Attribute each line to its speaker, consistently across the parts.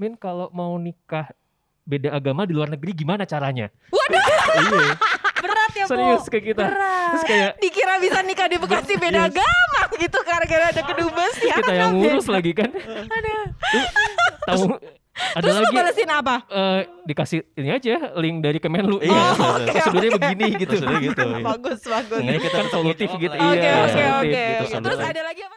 Speaker 1: Min kalau mau nikah beda agama di luar negeri gimana caranya?
Speaker 2: Waduh.
Speaker 1: iya,
Speaker 3: Berat ya, Bu.
Speaker 1: serius ke kita. Terus kayak
Speaker 2: Dikira bisa nikah di Bekasi
Speaker 1: Yes.
Speaker 2: beda agama gitu gara-gara ada kedubes ya.
Speaker 1: kita yang ngurus lagi kan. Tahu ada
Speaker 2: Terus lu
Speaker 1: lagi
Speaker 2: balesin apa?
Speaker 1: eh, dikasih ini aja link dari Kemenlu.
Speaker 4: Iya,
Speaker 1: Iya.
Speaker 4: betul.
Speaker 1: Prosedurnya
Speaker 2: oke.
Speaker 1: begini gitu.
Speaker 4: Prosedurnya gitu. iya.
Speaker 2: Bagus, bagus.
Speaker 4: Makanya kita
Speaker 1: Kan
Speaker 4: bisa
Speaker 1: solutif
Speaker 4: ngejawab
Speaker 1: gitu, iya.
Speaker 4: lah.
Speaker 2: Oke, oke,
Speaker 1: solutif
Speaker 2: oke.
Speaker 1: gitu,
Speaker 4: sambil-
Speaker 2: Terus ada lagi apa?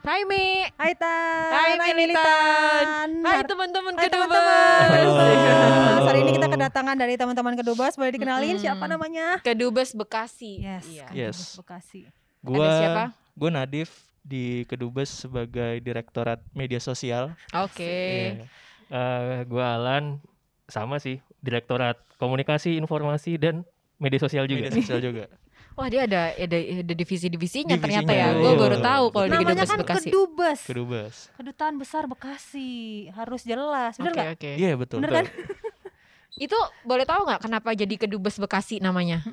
Speaker 3: Hai Mi.
Speaker 2: Hai Tan.
Speaker 3: Hai Militan. Hai
Speaker 2: Hai
Speaker 3: teman-teman
Speaker 2: Hai
Speaker 3: kedubes.
Speaker 2: teman-teman.
Speaker 4: Halo.
Speaker 2: Hari ini kita kedatangan dari teman-teman kedubes. Boleh dikenalin
Speaker 3: Mm-mm.
Speaker 2: siapa namanya?
Speaker 3: Kedubes Bekasi.
Speaker 2: Yes.
Speaker 3: Iya.
Speaker 2: Kedubes
Speaker 4: Yes.
Speaker 2: Bekasi.
Speaker 4: Gua
Speaker 3: Ada siapa?
Speaker 4: Gue Nadif di Kedubes sebagai Direktorat Media Sosial.
Speaker 3: Oke.
Speaker 4: Iya.
Speaker 1: Eh, gua Alan sama sih Direktorat Komunikasi Informasi dan Media Sosial juga.
Speaker 4: Media Sosial juga.
Speaker 3: Wah, dia ada ada ada divisi-divisinya
Speaker 4: Divisinya,
Speaker 3: ternyata ya. Gue
Speaker 4: iya.
Speaker 3: baru tahu kalau di
Speaker 2: Namanya
Speaker 3: Kedubes
Speaker 2: kan
Speaker 3: Bekasi.
Speaker 2: kedubes.
Speaker 4: Kedubes.
Speaker 2: Kedutaan besar Bekasi. Harus jelas.
Speaker 3: Oke,
Speaker 2: Bener nggak?
Speaker 3: oke.
Speaker 4: Iya betul.
Speaker 2: Bener
Speaker 4: betul.
Speaker 2: kan?
Speaker 3: Itu boleh tahu nggak kenapa jadi Kedubes Bekasi namanya?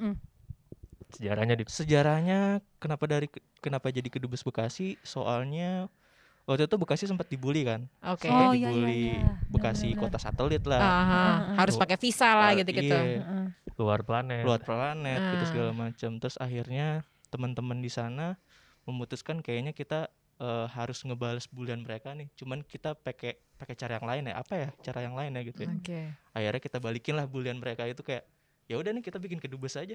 Speaker 1: Sejarahnya di
Speaker 4: Sejarahnya kenapa dari kenapa jadi Kedubes Bekasi? Soalnya waktu itu Bekasi sempat dibully kan.
Speaker 3: Oke.
Speaker 4: Sempat
Speaker 2: Oh, iya, iya,
Speaker 4: dibully
Speaker 2: iya.
Speaker 4: Bekasi
Speaker 2: Benar-benar.
Speaker 4: kota satelit lah.
Speaker 3: Aha, harus
Speaker 4: Oh.
Speaker 3: pakai visa lah
Speaker 4: Ah,
Speaker 3: gitu-gitu.
Speaker 4: iya.
Speaker 2: Heeh.
Speaker 1: luar planet.
Speaker 4: luar planet gitu
Speaker 3: Ah.
Speaker 4: segala macam terus akhirnya teman-teman di sana memutuskan kayaknya kita eh, harus ngebales bulian mereka nih cuman kita pakai pakai cara yang lain ya apa ya cara yang lain ya gitu ya.
Speaker 3: Oke.
Speaker 4: akhirnya kita balikin lah bulian mereka itu kayak ya udah nih kita bikin kedubes aja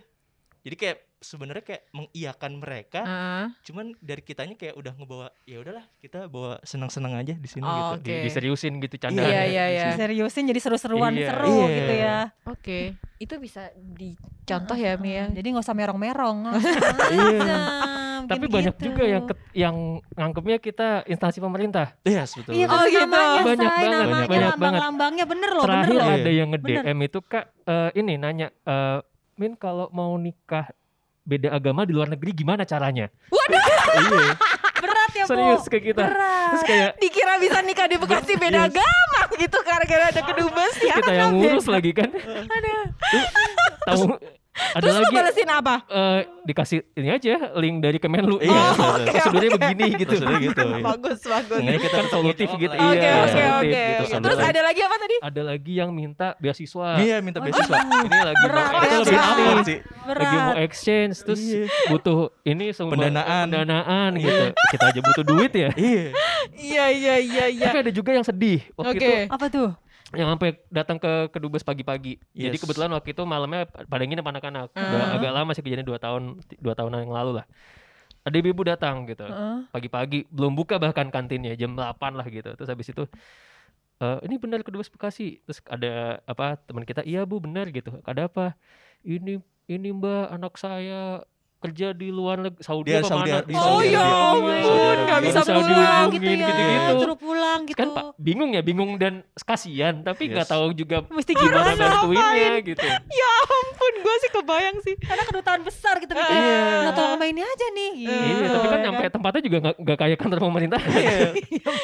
Speaker 4: jadi kayak sebenarnya kayak mengiakan mereka
Speaker 3: Ah,
Speaker 4: cuman dari kitanya kayak udah ngebawa ya udahlah kita bawa senang-senang aja di sini
Speaker 3: Oh,
Speaker 4: gitu
Speaker 1: Di-
Speaker 3: Oke.
Speaker 1: Diseriusin gitu canda.
Speaker 3: Iya, iya, iya.
Speaker 2: Diseriusin jadi seru-seruan
Speaker 1: Iya.
Speaker 2: seru
Speaker 4: Iya.
Speaker 2: gitu ya.
Speaker 3: Oke. Itu bisa dicontoh ya, Mi ya.
Speaker 2: Jadi nggak usah merong-merong. Nah, gitu.
Speaker 4: Iya.
Speaker 1: Tapi banyak juga yang ket- yang ngangkepnya kita instansi pemerintah.
Speaker 4: iya betul
Speaker 2: Iya,
Speaker 4: betul.
Speaker 2: oh,
Speaker 3: Oh, gitu.
Speaker 2: gitu.
Speaker 1: Banyak
Speaker 2: Namanya, say,
Speaker 1: banget,
Speaker 2: namanya,
Speaker 1: banyak banget.
Speaker 2: Lambang-lambangnya bener loh,
Speaker 1: Terakhir
Speaker 2: bener loh.
Speaker 1: ada yang
Speaker 2: Bener.
Speaker 1: nge-DM itu Kak eh, ini nanya eh, Min kalau mau nikah beda agama di luar negeri gimana caranya?
Speaker 4: Iya,
Speaker 2: Berat ya, Bu.
Speaker 1: Serius ke kita. Terus
Speaker 2: Berat.
Speaker 1: kayak
Speaker 2: Dikira bisa nikah di Bekasi
Speaker 4: Iya.
Speaker 2: beda
Speaker 1: Yes.
Speaker 2: agama gitu gara-gara ada kedubes ya.
Speaker 1: kita yang ngurus lagi kan. Tahu ada
Speaker 2: Terus lu
Speaker 1: lagi
Speaker 2: balesin apa?
Speaker 1: eh, dikasih ini aja link dari Kemenlu.
Speaker 4: Iya,
Speaker 1: Oh,
Speaker 4: betul, betul.
Speaker 1: prosedurnya begini gitu.
Speaker 4: Prosedurnya gitu, iya.
Speaker 2: bagus, bagus.
Speaker 4: Makanya kita
Speaker 1: Kan
Speaker 4: bisa
Speaker 1: solutif
Speaker 4: ngejawab
Speaker 1: gitu,
Speaker 4: lah.
Speaker 2: Oke,
Speaker 1: Iya,
Speaker 2: oke,
Speaker 1: solutif
Speaker 2: oke.
Speaker 1: gitu,
Speaker 2: oke.
Speaker 4: sambil
Speaker 2: Terus
Speaker 4: lain.
Speaker 2: ada lagi apa tadi?
Speaker 1: Ada lagi yang minta beasiswa.
Speaker 4: Iya minta
Speaker 1: oh,
Speaker 4: beasiswa. Ini lagi
Speaker 2: Berat
Speaker 4: mau- itu
Speaker 2: ya,
Speaker 4: lebih
Speaker 2: Pak.
Speaker 4: awal sih.
Speaker 1: lagi mau
Speaker 2: Berat.
Speaker 1: exchange terus
Speaker 4: Iya.
Speaker 1: butuh ini sumber
Speaker 4: Pendanaan.
Speaker 1: pendanaan gitu.
Speaker 2: Iya.
Speaker 1: Kita aja butuh duit ya.
Speaker 4: Iya.
Speaker 3: Iya, iya, iya, iya.
Speaker 2: Ya.
Speaker 1: Tapi ada juga yang sedih waktu itu
Speaker 3: Oke.
Speaker 2: Apa tuh?
Speaker 1: yang sampai datang ke kedubes pagi-pagi. Jadi
Speaker 4: Yes.
Speaker 1: kebetulan waktu itu malamnya pada nginep anak-anak. Udah
Speaker 3: Ah.
Speaker 1: agak lama sih kejadian 2 tahun 2 tahunan yang lalu lah. Ada ibu datang gitu.
Speaker 2: Heeh.
Speaker 1: Pagi-pagi belum buka bahkan kantinnya jam 8 lah gitu. Terus habis itu "Eh, ini benar kedubes Bekasi. Terus ada apa teman kita, "Iya Bu, benar gitu." Ada apa? Ini ini Mbak anak saya kerja di luar negeri Saudi apa
Speaker 4: Dia Iya, Saudi-
Speaker 1: mana?"
Speaker 4: di
Speaker 2: Oh
Speaker 4: Saudi
Speaker 2: ya
Speaker 4: Arabia. Saudi
Speaker 2: ampun,
Speaker 4: Arabia.
Speaker 2: nggak
Speaker 1: Bisa
Speaker 2: bisa pulang
Speaker 1: dihubungin
Speaker 2: gitu ya.
Speaker 1: gitu-gitu.
Speaker 2: Terus pulang gitu.
Speaker 1: kan Pak bingung ya, bingung dan kasihan tapi nggak
Speaker 4: Yes.
Speaker 1: tahu juga
Speaker 2: Mesti
Speaker 1: gimana
Speaker 2: gimana?
Speaker 1: bantuinnya gitu.
Speaker 3: Ya ampun, gue sih kebayang sih.
Speaker 2: Karena kedutaan besar gitu mikir.
Speaker 4: Iya.
Speaker 2: Nah, tolong sama ini aja nih.
Speaker 1: Iya, tapi
Speaker 2: ya
Speaker 1: kan nyampe tempatnya juga nggak nggak kayak kantor pemerintah.
Speaker 4: Iya.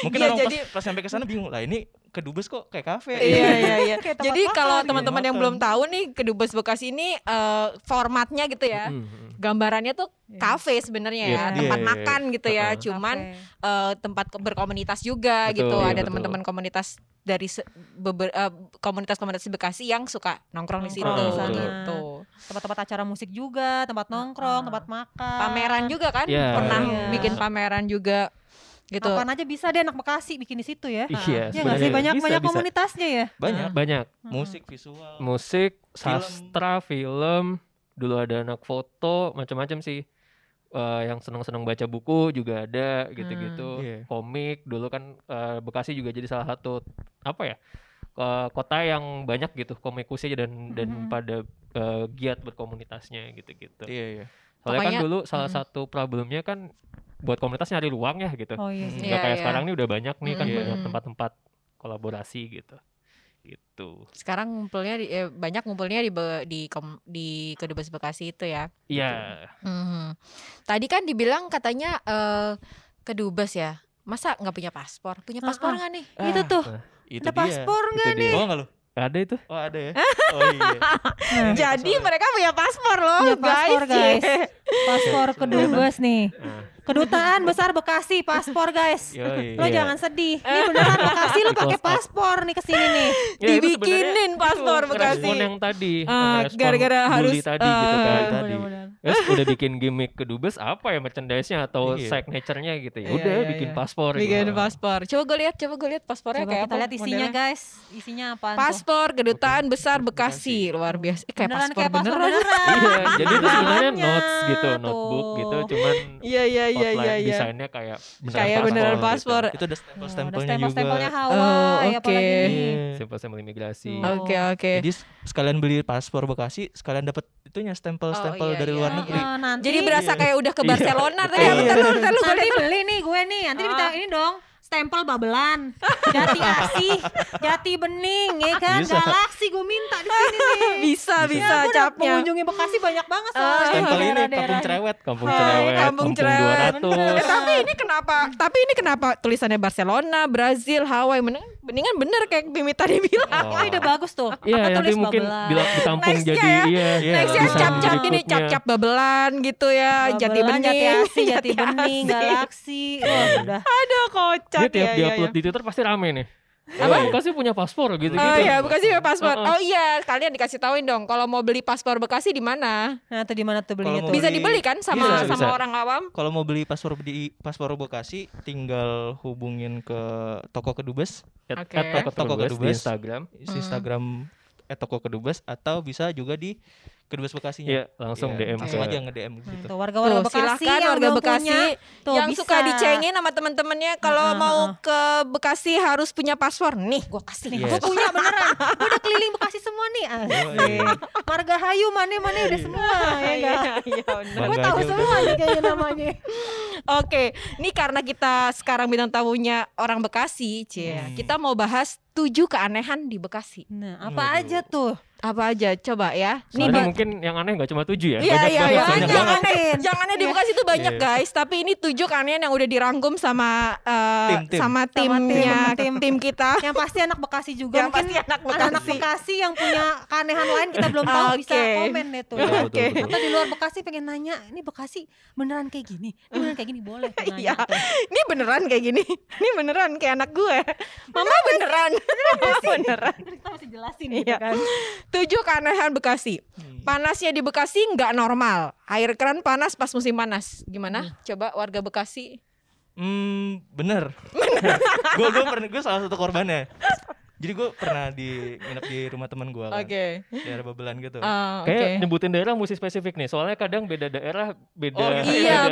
Speaker 4: Mungkin
Speaker 3: Iya,
Speaker 4: orang
Speaker 3: jadi-
Speaker 4: pas, pas sampai ke sana bingung lah ini kedubes kok kayak kafe.
Speaker 3: Iya iya iya.
Speaker 2: Kayak tempat
Speaker 3: Jadi
Speaker 2: makan
Speaker 3: kalau
Speaker 2: gitu.
Speaker 3: teman-teman yang
Speaker 4: Makan.
Speaker 3: belum tahu nih Kedubes Bekasi ini eh, formatnya gitu ya.
Speaker 1: Mm-mm.
Speaker 3: Gambarannya tuh
Speaker 2: Iya.
Speaker 3: kafe sebenarnya
Speaker 1: Iya,
Speaker 3: ya,
Speaker 2: iya,
Speaker 3: tempat
Speaker 4: iya, iya.
Speaker 3: makan gitu ya.
Speaker 1: Heeh.
Speaker 3: Cuman
Speaker 2: Oke.
Speaker 3: eh, tempat ke- berkomunitas juga
Speaker 1: Betul,
Speaker 3: gitu.
Speaker 1: iya,
Speaker 3: Ada
Speaker 1: betul.
Speaker 3: teman-teman komunitas dari se- beber- eh, komunitas-komunitas di Bekasi yang suka nongkrong di situ
Speaker 1: Nongkrong di sana.
Speaker 3: gitu.
Speaker 2: tempat-tempat acara musik juga, tempat nongkrong, tempat makan.
Speaker 3: Pameran juga kan
Speaker 1: Iya.
Speaker 3: pernah
Speaker 2: Ah. Iya.
Speaker 3: bikin pameran juga gitu.
Speaker 2: Kapan aja bisa deh anak Bekasi bikin di situ ya.
Speaker 1: Iya,
Speaker 2: Iya nggak sih
Speaker 1: sebenarnya
Speaker 2: banyak
Speaker 1: bisa,
Speaker 2: banyak
Speaker 1: bisa.
Speaker 2: komunitasnya ya.
Speaker 4: Banyak
Speaker 1: Banyak
Speaker 4: musik visual.
Speaker 1: musik, sastra, film, dulu ada anak foto, macam-macam sih. Eh, yang seneng-seneng baca buku juga ada
Speaker 2: Hmm.
Speaker 1: gitu-gitu.
Speaker 4: Iya.
Speaker 1: Komik dulu kan eh, Bekasi juga jadi salah satu apa ya? eh, kota yang banyak gitu komikusnya dan dan
Speaker 2: Mhm.
Speaker 1: pada eh, giat berkomunitasnya gitu-gitu.
Speaker 4: Iya iya.
Speaker 1: Soalnya kan
Speaker 3: Pokoknya-
Speaker 1: dulu salah
Speaker 3: Mm.
Speaker 1: satu problemnya kan buat komunitas nyari ruang ya gitu.
Speaker 2: Oh iya
Speaker 4: Hmm.
Speaker 2: sih.
Speaker 1: nggak
Speaker 3: Iya,
Speaker 1: kayak
Speaker 3: iya.
Speaker 1: sekarang nih udah banyak nih kan
Speaker 4: Mm-mm.
Speaker 1: banyak
Speaker 3: Iya.
Speaker 1: tempat-tempat kolaborasi gitu gitu
Speaker 3: Sekarang ngumpulnya di, eh, banyak ngumpulnya di Be- di kom- di Kedubes Bekasi itu ya.
Speaker 1: iya
Speaker 3: Mhm. Tadi kan dibilang katanya eh kedubes ya. Masa nggak punya paspor? Punya
Speaker 2: Ah,
Speaker 3: paspor
Speaker 2: ah.
Speaker 3: nggak nih?
Speaker 2: itu tuh
Speaker 4: itu dia. Iya.
Speaker 2: ada paspor nggak?
Speaker 1: itu Gitu dia.
Speaker 4: Bawa nggak lu?
Speaker 1: Ada itu.
Speaker 4: Oh ada ya? Oh iya. Ini
Speaker 3: Jadi
Speaker 4: paspornya.
Speaker 3: mereka punya paspor loh,
Speaker 2: Punya
Speaker 3: guys. Ya,
Speaker 2: paspor, guys.
Speaker 3: Cie.
Speaker 2: paspor
Speaker 4: Oke,
Speaker 2: kedubes nih
Speaker 4: Ah.
Speaker 1: Nah,
Speaker 2: kedutaan besar Bekasi paspor guys
Speaker 4: Yoi.
Speaker 2: lo
Speaker 1: Iya.
Speaker 2: jangan sedih ini beneran Bekasi lo
Speaker 1: Di
Speaker 2: pakai
Speaker 1: close up.
Speaker 2: paspor nih
Speaker 1: ya,
Speaker 2: kesini nih
Speaker 1: itu sebenarnya
Speaker 3: Dibikinin
Speaker 1: itu
Speaker 3: paspor
Speaker 1: Respon
Speaker 3: Bekasi.
Speaker 1: yang tadi,
Speaker 3: Ah,
Speaker 1: respon
Speaker 3: gara-gara
Speaker 1: bully
Speaker 3: harus
Speaker 1: tadi gitu
Speaker 3: eh,
Speaker 1: kan.
Speaker 4: tadi.
Speaker 2: Bener-bener.
Speaker 1: Terus udah bikin gimmick ke Dubes apa ya merchandise-nya atau
Speaker 4: Iya.
Speaker 1: signature-nya gitu. Ya
Speaker 3: Iya,
Speaker 1: udah
Speaker 3: iya,
Speaker 1: bikin
Speaker 3: iya.
Speaker 1: paspor
Speaker 3: Bikin
Speaker 1: gitu.
Speaker 3: paspor. Coba gue lihat, coba gue lihat paspornya
Speaker 2: coba
Speaker 3: kayak
Speaker 2: kita
Speaker 3: apa
Speaker 2: lihat isinya
Speaker 3: modelnya.
Speaker 2: guys isinya apa
Speaker 3: Paspor kedutaan besar Bekasi luar biasa. Eh, kayak
Speaker 2: beneran
Speaker 3: paspor
Speaker 2: kayak paspor
Speaker 3: beneran.
Speaker 2: beneran
Speaker 1: Iya, jadi itu sebenarnya
Speaker 2: Bahannya
Speaker 1: notes gitu, notebook
Speaker 2: tuh.
Speaker 1: gitu, cuman
Speaker 3: Iya iya iya
Speaker 1: outline
Speaker 3: iya iya.
Speaker 1: desainnya kayak beneran
Speaker 3: Kayak beneran
Speaker 1: paspor.
Speaker 3: paspor.
Speaker 4: Itu ada
Speaker 2: Ya, Oh, ada
Speaker 4: stempel-stempelnya juga.
Speaker 2: stempel-stempelnya
Speaker 3: Oh,
Speaker 2: Hawaii
Speaker 3: oke.
Speaker 2: apalagi nih.
Speaker 4: Iya.
Speaker 1: Gitu. Simpel-simpel imigrasi.
Speaker 2: Tuh.
Speaker 3: Oke oke.
Speaker 4: Jadi s- sekalian beli paspor Bekasi, sekalian dapat itunya stempel-stempel
Speaker 3: Oh, iya,
Speaker 4: dari
Speaker 3: iya.
Speaker 4: luar
Speaker 2: Heeh,
Speaker 4: negeri.
Speaker 2: Eh, nanti
Speaker 3: Jadi berasa
Speaker 4: Iya.
Speaker 3: kayak udah ke
Speaker 1: Iya,
Speaker 3: Barcelona
Speaker 1: betul.
Speaker 3: tadi.
Speaker 4: Iya.
Speaker 3: Ntar lu ntar lu
Speaker 2: nanti
Speaker 3: balik.
Speaker 2: beli nih gue nih
Speaker 3: Ah.
Speaker 2: nanti minta ini dong stempel babelan jati asih jati bening ya kan
Speaker 4: Bisa.
Speaker 2: galaksi gue minta di sini nih
Speaker 3: Bisa bisa
Speaker 2: Gue Iya, udah
Speaker 3: capnya.
Speaker 2: mengunjungi Bekasi banyak banget soalnya
Speaker 3: Ah.
Speaker 4: Stempel ini kampung
Speaker 2: daerah-daerah.
Speaker 4: cerewet.
Speaker 1: Kampung
Speaker 3: Hai,
Speaker 1: cerewet,
Speaker 3: kampung
Speaker 1: kampung,
Speaker 3: cerewet.
Speaker 1: 200.
Speaker 3: Eh, tapi ini kenapa? Tapi ini kenapa tulisannya Barcelona, Brazil, Hawaii? Mendingan, mendingan bener kayak Bimi tadi bilang.
Speaker 2: Itu ide Ah, oh, bagus tuh.
Speaker 1: Iya,
Speaker 2: Aku
Speaker 1: nanti
Speaker 2: tulis
Speaker 1: mungkin
Speaker 2: babelan.
Speaker 1: bila di kampung
Speaker 3: Nextnya
Speaker 1: jadi
Speaker 3: ya.
Speaker 1: iya.
Speaker 4: Iya,
Speaker 3: Nextnya
Speaker 4: bisa
Speaker 3: cap-cap
Speaker 1: jadi
Speaker 3: gini,
Speaker 1: klubnya.
Speaker 3: cap-cap babelan gitu ya,
Speaker 2: Babelan,
Speaker 3: jati bening,
Speaker 2: jati asih, jati
Speaker 3: Jati
Speaker 2: bening,
Speaker 3: asih.
Speaker 2: galaksi. Wah, udah.
Speaker 3: Aduh kocak
Speaker 1: Ini tiap
Speaker 3: ya,
Speaker 1: dia
Speaker 3: ya,
Speaker 1: upload
Speaker 3: ya.
Speaker 1: di Twitter pasti rame nih.
Speaker 4: Apa?
Speaker 1: Eh, Bekasi punya paspor gitu-gitu.
Speaker 3: Oh iya, Bekasi punya paspor.
Speaker 1: Heeh.
Speaker 3: Oh iya, kalian dikasih tauin dong kalau mau beli paspor Bekasi di mana?
Speaker 2: Nah, tuh di mana tuh belinya
Speaker 4: Kalau mau
Speaker 2: tuh?
Speaker 3: Bisa
Speaker 4: Beli-
Speaker 3: dibeli kan sama
Speaker 1: Oh, iya, Bisa,
Speaker 3: sama
Speaker 1: bisa.
Speaker 3: orang awam?
Speaker 4: Kalau mau beli paspor di paspor Bekasi, tinggal hubungin ke toko kedubes,
Speaker 1: At-
Speaker 3: Oke.
Speaker 1: at Toko
Speaker 4: Toko
Speaker 1: Kedubes di
Speaker 4: Kedubes.
Speaker 1: Instagram.
Speaker 3: Hmm.
Speaker 4: si Instagram eh, toko kedubes atau bisa juga di kedubes Bekasinya.
Speaker 1: Iya, langsung
Speaker 4: Iya,
Speaker 1: DM
Speaker 4: langsung
Speaker 1: ke
Speaker 4: aja nge-DM
Speaker 2: Hmm,
Speaker 4: gitu.
Speaker 2: Tuh warga-warga
Speaker 3: Tuh,
Speaker 2: Bekasi
Speaker 3: silakan
Speaker 2: yang
Speaker 3: warga
Speaker 2: belum
Speaker 3: Bekasi
Speaker 2: punya, tuh,
Speaker 3: yang
Speaker 2: bisa.
Speaker 3: suka dicengin sama temen-temennya kalau
Speaker 2: Heeh,
Speaker 3: mau ke Bekasi harus punya paspor. Nih, gua kasih.
Speaker 2: Nih,
Speaker 4: Yes.
Speaker 2: gue punya beneran. Gue udah keliling Bekasi semua nih. Asik. Warga Hayu mana mana
Speaker 4: Iya.
Speaker 2: udah semua
Speaker 3: Iya,
Speaker 2: ya enggak. Gue
Speaker 4: Bangga
Speaker 2: tahu
Speaker 4: aja
Speaker 2: semua nih kayaknya namanya.
Speaker 3: Oke, ini karena kita sekarang bintang tamunya orang Bekasi, Cie.
Speaker 4: Hmm.
Speaker 3: Kita mau bahas tujuh keanehan di Bekasi.
Speaker 2: Nah, apa
Speaker 4: Waduh.
Speaker 2: aja tuh?
Speaker 3: Apa aja? Coba ya.
Speaker 1: Soalnya
Speaker 3: Nih, Mbak-
Speaker 1: mungkin yang aneh nggak cuma tujuh ya. banyak
Speaker 3: Iya, iya,
Speaker 1: banget,
Speaker 3: iya.
Speaker 1: banyak
Speaker 3: Banyak
Speaker 1: banget.
Speaker 3: banget.
Speaker 2: Aneh.
Speaker 3: Yang aneh di Bekasi itu banyak
Speaker 4: Iya.
Speaker 3: guys, tapi ini tujuh keanehan yang udah dirangkum sama eh,
Speaker 4: Tim, tim.
Speaker 3: sama
Speaker 2: tim,
Speaker 3: timnya
Speaker 2: tim.
Speaker 3: tim, kita.
Speaker 2: Yang pasti anak Bekasi juga
Speaker 3: Yang
Speaker 2: mungkin
Speaker 3: pasti anak
Speaker 2: anak
Speaker 3: Bekasi.
Speaker 2: Bekasi yang punya keanehan lain kita belum tahu bisa
Speaker 3: Oke.
Speaker 2: komen deh tuh.
Speaker 1: Betul, betul,
Speaker 3: Oke.
Speaker 1: betul.
Speaker 2: Atau di luar Bekasi pengen nanya, ini Bekasi beneran kayak gini? Ini beneran kayak gini boleh
Speaker 3: Iya.
Speaker 2: tuh nanya Gitu. tuh.
Speaker 3: Ini beneran kayak gini. Ini beneran kayak anak gue. Mama beneran. Mama beneran.
Speaker 2: Kita mesti jelasin gitu
Speaker 3: Iya.
Speaker 2: kan.
Speaker 3: Tujuh keanehan Bekasi.
Speaker 4: Hmm.
Speaker 3: Panasnya di Bekasi nggak normal. Air keran panas pas musim panas. Gimana? Coba warga Bekasi.
Speaker 4: Hmm, bener. gue gue pernah gue salah satu korbannya. Jadi gue pernah di nginep di rumah teman gue kan,
Speaker 3: Oke.
Speaker 4: daerah Babelan gitu.
Speaker 3: Ah,
Speaker 1: Kayak
Speaker 3: Oke.
Speaker 1: nyebutin daerah mesti spesifik nih. Soalnya kadang beda daerah beda.
Speaker 4: Oh,
Speaker 3: Iya,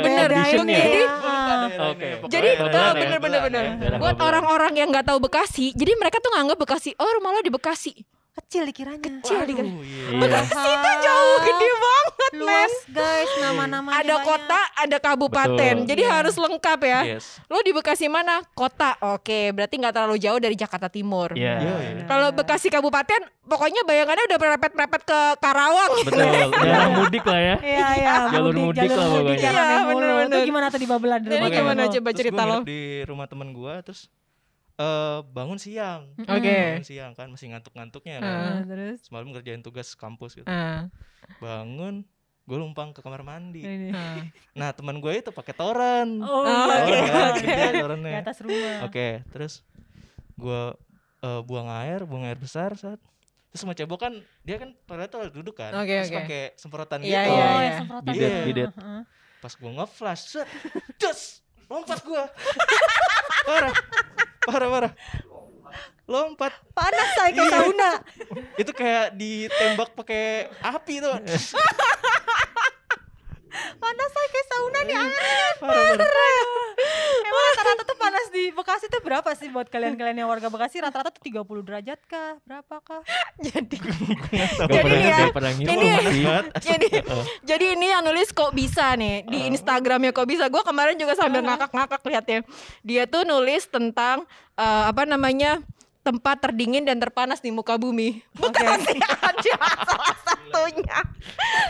Speaker 1: beda
Speaker 3: bener.
Speaker 1: edition-nya.
Speaker 3: Itu Jadi-
Speaker 4: Gua lupa daerahnya,
Speaker 1: Oke.
Speaker 4: pokoknya
Speaker 3: Jadi,
Speaker 4: daerah-
Speaker 3: eh,
Speaker 4: daerah
Speaker 3: bener,
Speaker 4: Babelan
Speaker 3: bener,
Speaker 4: ya.
Speaker 1: bener.
Speaker 4: Daerah
Speaker 3: Buat
Speaker 1: Babelan.
Speaker 3: orang-orang yang nggak tahu Bekasi, jadi mereka tuh nganggap Bekasi, oh rumah lo di Bekasi.
Speaker 2: Kecil dikiranya.
Speaker 3: Kecil
Speaker 4: Babelan.
Speaker 3: di
Speaker 4: Waduh, iya.
Speaker 1: Iya.
Speaker 2: itu
Speaker 3: Jauh gede banget, men.
Speaker 2: Luas guys nama-namanya
Speaker 3: Ada
Speaker 2: banyak.
Speaker 3: kota, ada kabupaten.
Speaker 1: Betul.
Speaker 3: Jadi
Speaker 2: Iya.
Speaker 3: harus lengkap ya.
Speaker 4: Yes.
Speaker 3: Lo di Bekasi mana? Kota. Oke, berarti nggak terlalu jauh dari Jakarta Timur.
Speaker 1: Iya.
Speaker 4: Iya, iya.
Speaker 3: Kalau Bekasi kabupaten, pokoknya bayangannya udah merepet-merepet ke Karawang.
Speaker 1: Betul. Daerah mudik lah ya.
Speaker 2: Iya iya
Speaker 1: Jalur mudik lah pokoknya.
Speaker 3: Iya,
Speaker 2: Iya benar
Speaker 3: bener-bener.
Speaker 2: Itu gimana tuh di Babelan? di
Speaker 3: Jadi
Speaker 2: rumah
Speaker 3: gimana
Speaker 2: kamu?
Speaker 3: coba
Speaker 4: Terus
Speaker 3: cerita
Speaker 4: gua
Speaker 3: lo?
Speaker 4: nginep di rumah teman gue terus eh bangun siang.
Speaker 2: Mm-mm.
Speaker 3: Oke.
Speaker 4: Bangun siang kan masih ngantuk-ngantuknya kan.
Speaker 2: Nah, terus
Speaker 4: Semalam kerjain tugas kampus gitu.
Speaker 3: Ah,
Speaker 4: Bangun, gue numpang ke kamar mandi.
Speaker 2: ini.
Speaker 3: ah.
Speaker 4: Nah, teman gue itu pakai toran.
Speaker 2: Oh,
Speaker 3: Ah,
Speaker 4: Toran
Speaker 2: iya, iya,
Speaker 4: kan,
Speaker 2: iya.
Speaker 4: gede
Speaker 2: Di
Speaker 4: torannya.
Speaker 2: atas rumah.
Speaker 4: Oke, terus gua eh, buang air, buang air besar saat terus sama cebok kan dia kan toilet tuh duduk kan,
Speaker 3: Oke,
Speaker 4: terus
Speaker 3: oke.
Speaker 4: pakai semprotan
Speaker 3: Iya,
Speaker 4: gitu.
Speaker 2: Oh,
Speaker 3: iya,
Speaker 2: yang
Speaker 3: iya.
Speaker 2: semprotan.
Speaker 1: Bidet,
Speaker 2: Iya.
Speaker 1: bidet.
Speaker 2: Heeh.
Speaker 4: Pas gua ngeflash, set, dus, lompat gua. parah, parah, parah. Lompat.
Speaker 2: Panas saya ke sauna.
Speaker 4: Itu kayak ditembak pakai api tuh.
Speaker 2: Panas saya ke sauna nih. ah.
Speaker 4: parah, parah.
Speaker 2: Emang rata-rata tuh panas di Bekasi tuh berapa sih buat kalian-kalian yang warga Bekasi? Rata-rata tuh 30 derajat kah? Berapa kah?
Speaker 3: Jadi,
Speaker 1: Gak
Speaker 3: Jadi
Speaker 1: pernah,
Speaker 3: nih ya,
Speaker 1: gak pernah ngitung
Speaker 3: ini-
Speaker 1: sih.
Speaker 3: jadi, jadi ini yang nulis kok bisa nih di Instagramnya kok bisa. Gue kemarin ya. juga sambil ngakak-ngakak liatnya. Dia tuh nulis tentang eh, apa namanya? tempat terdingin dan terpanas di muka bumi. Bekasi aja salah satunya.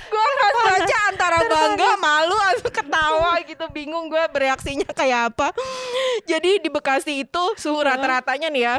Speaker 3: Gue harus baca antara bangga, malu, atau ketawa gitu. Bingung gue bereaksinya kayak apa. Jadi di Bekasi itu suhu rata-ratanya nih ya.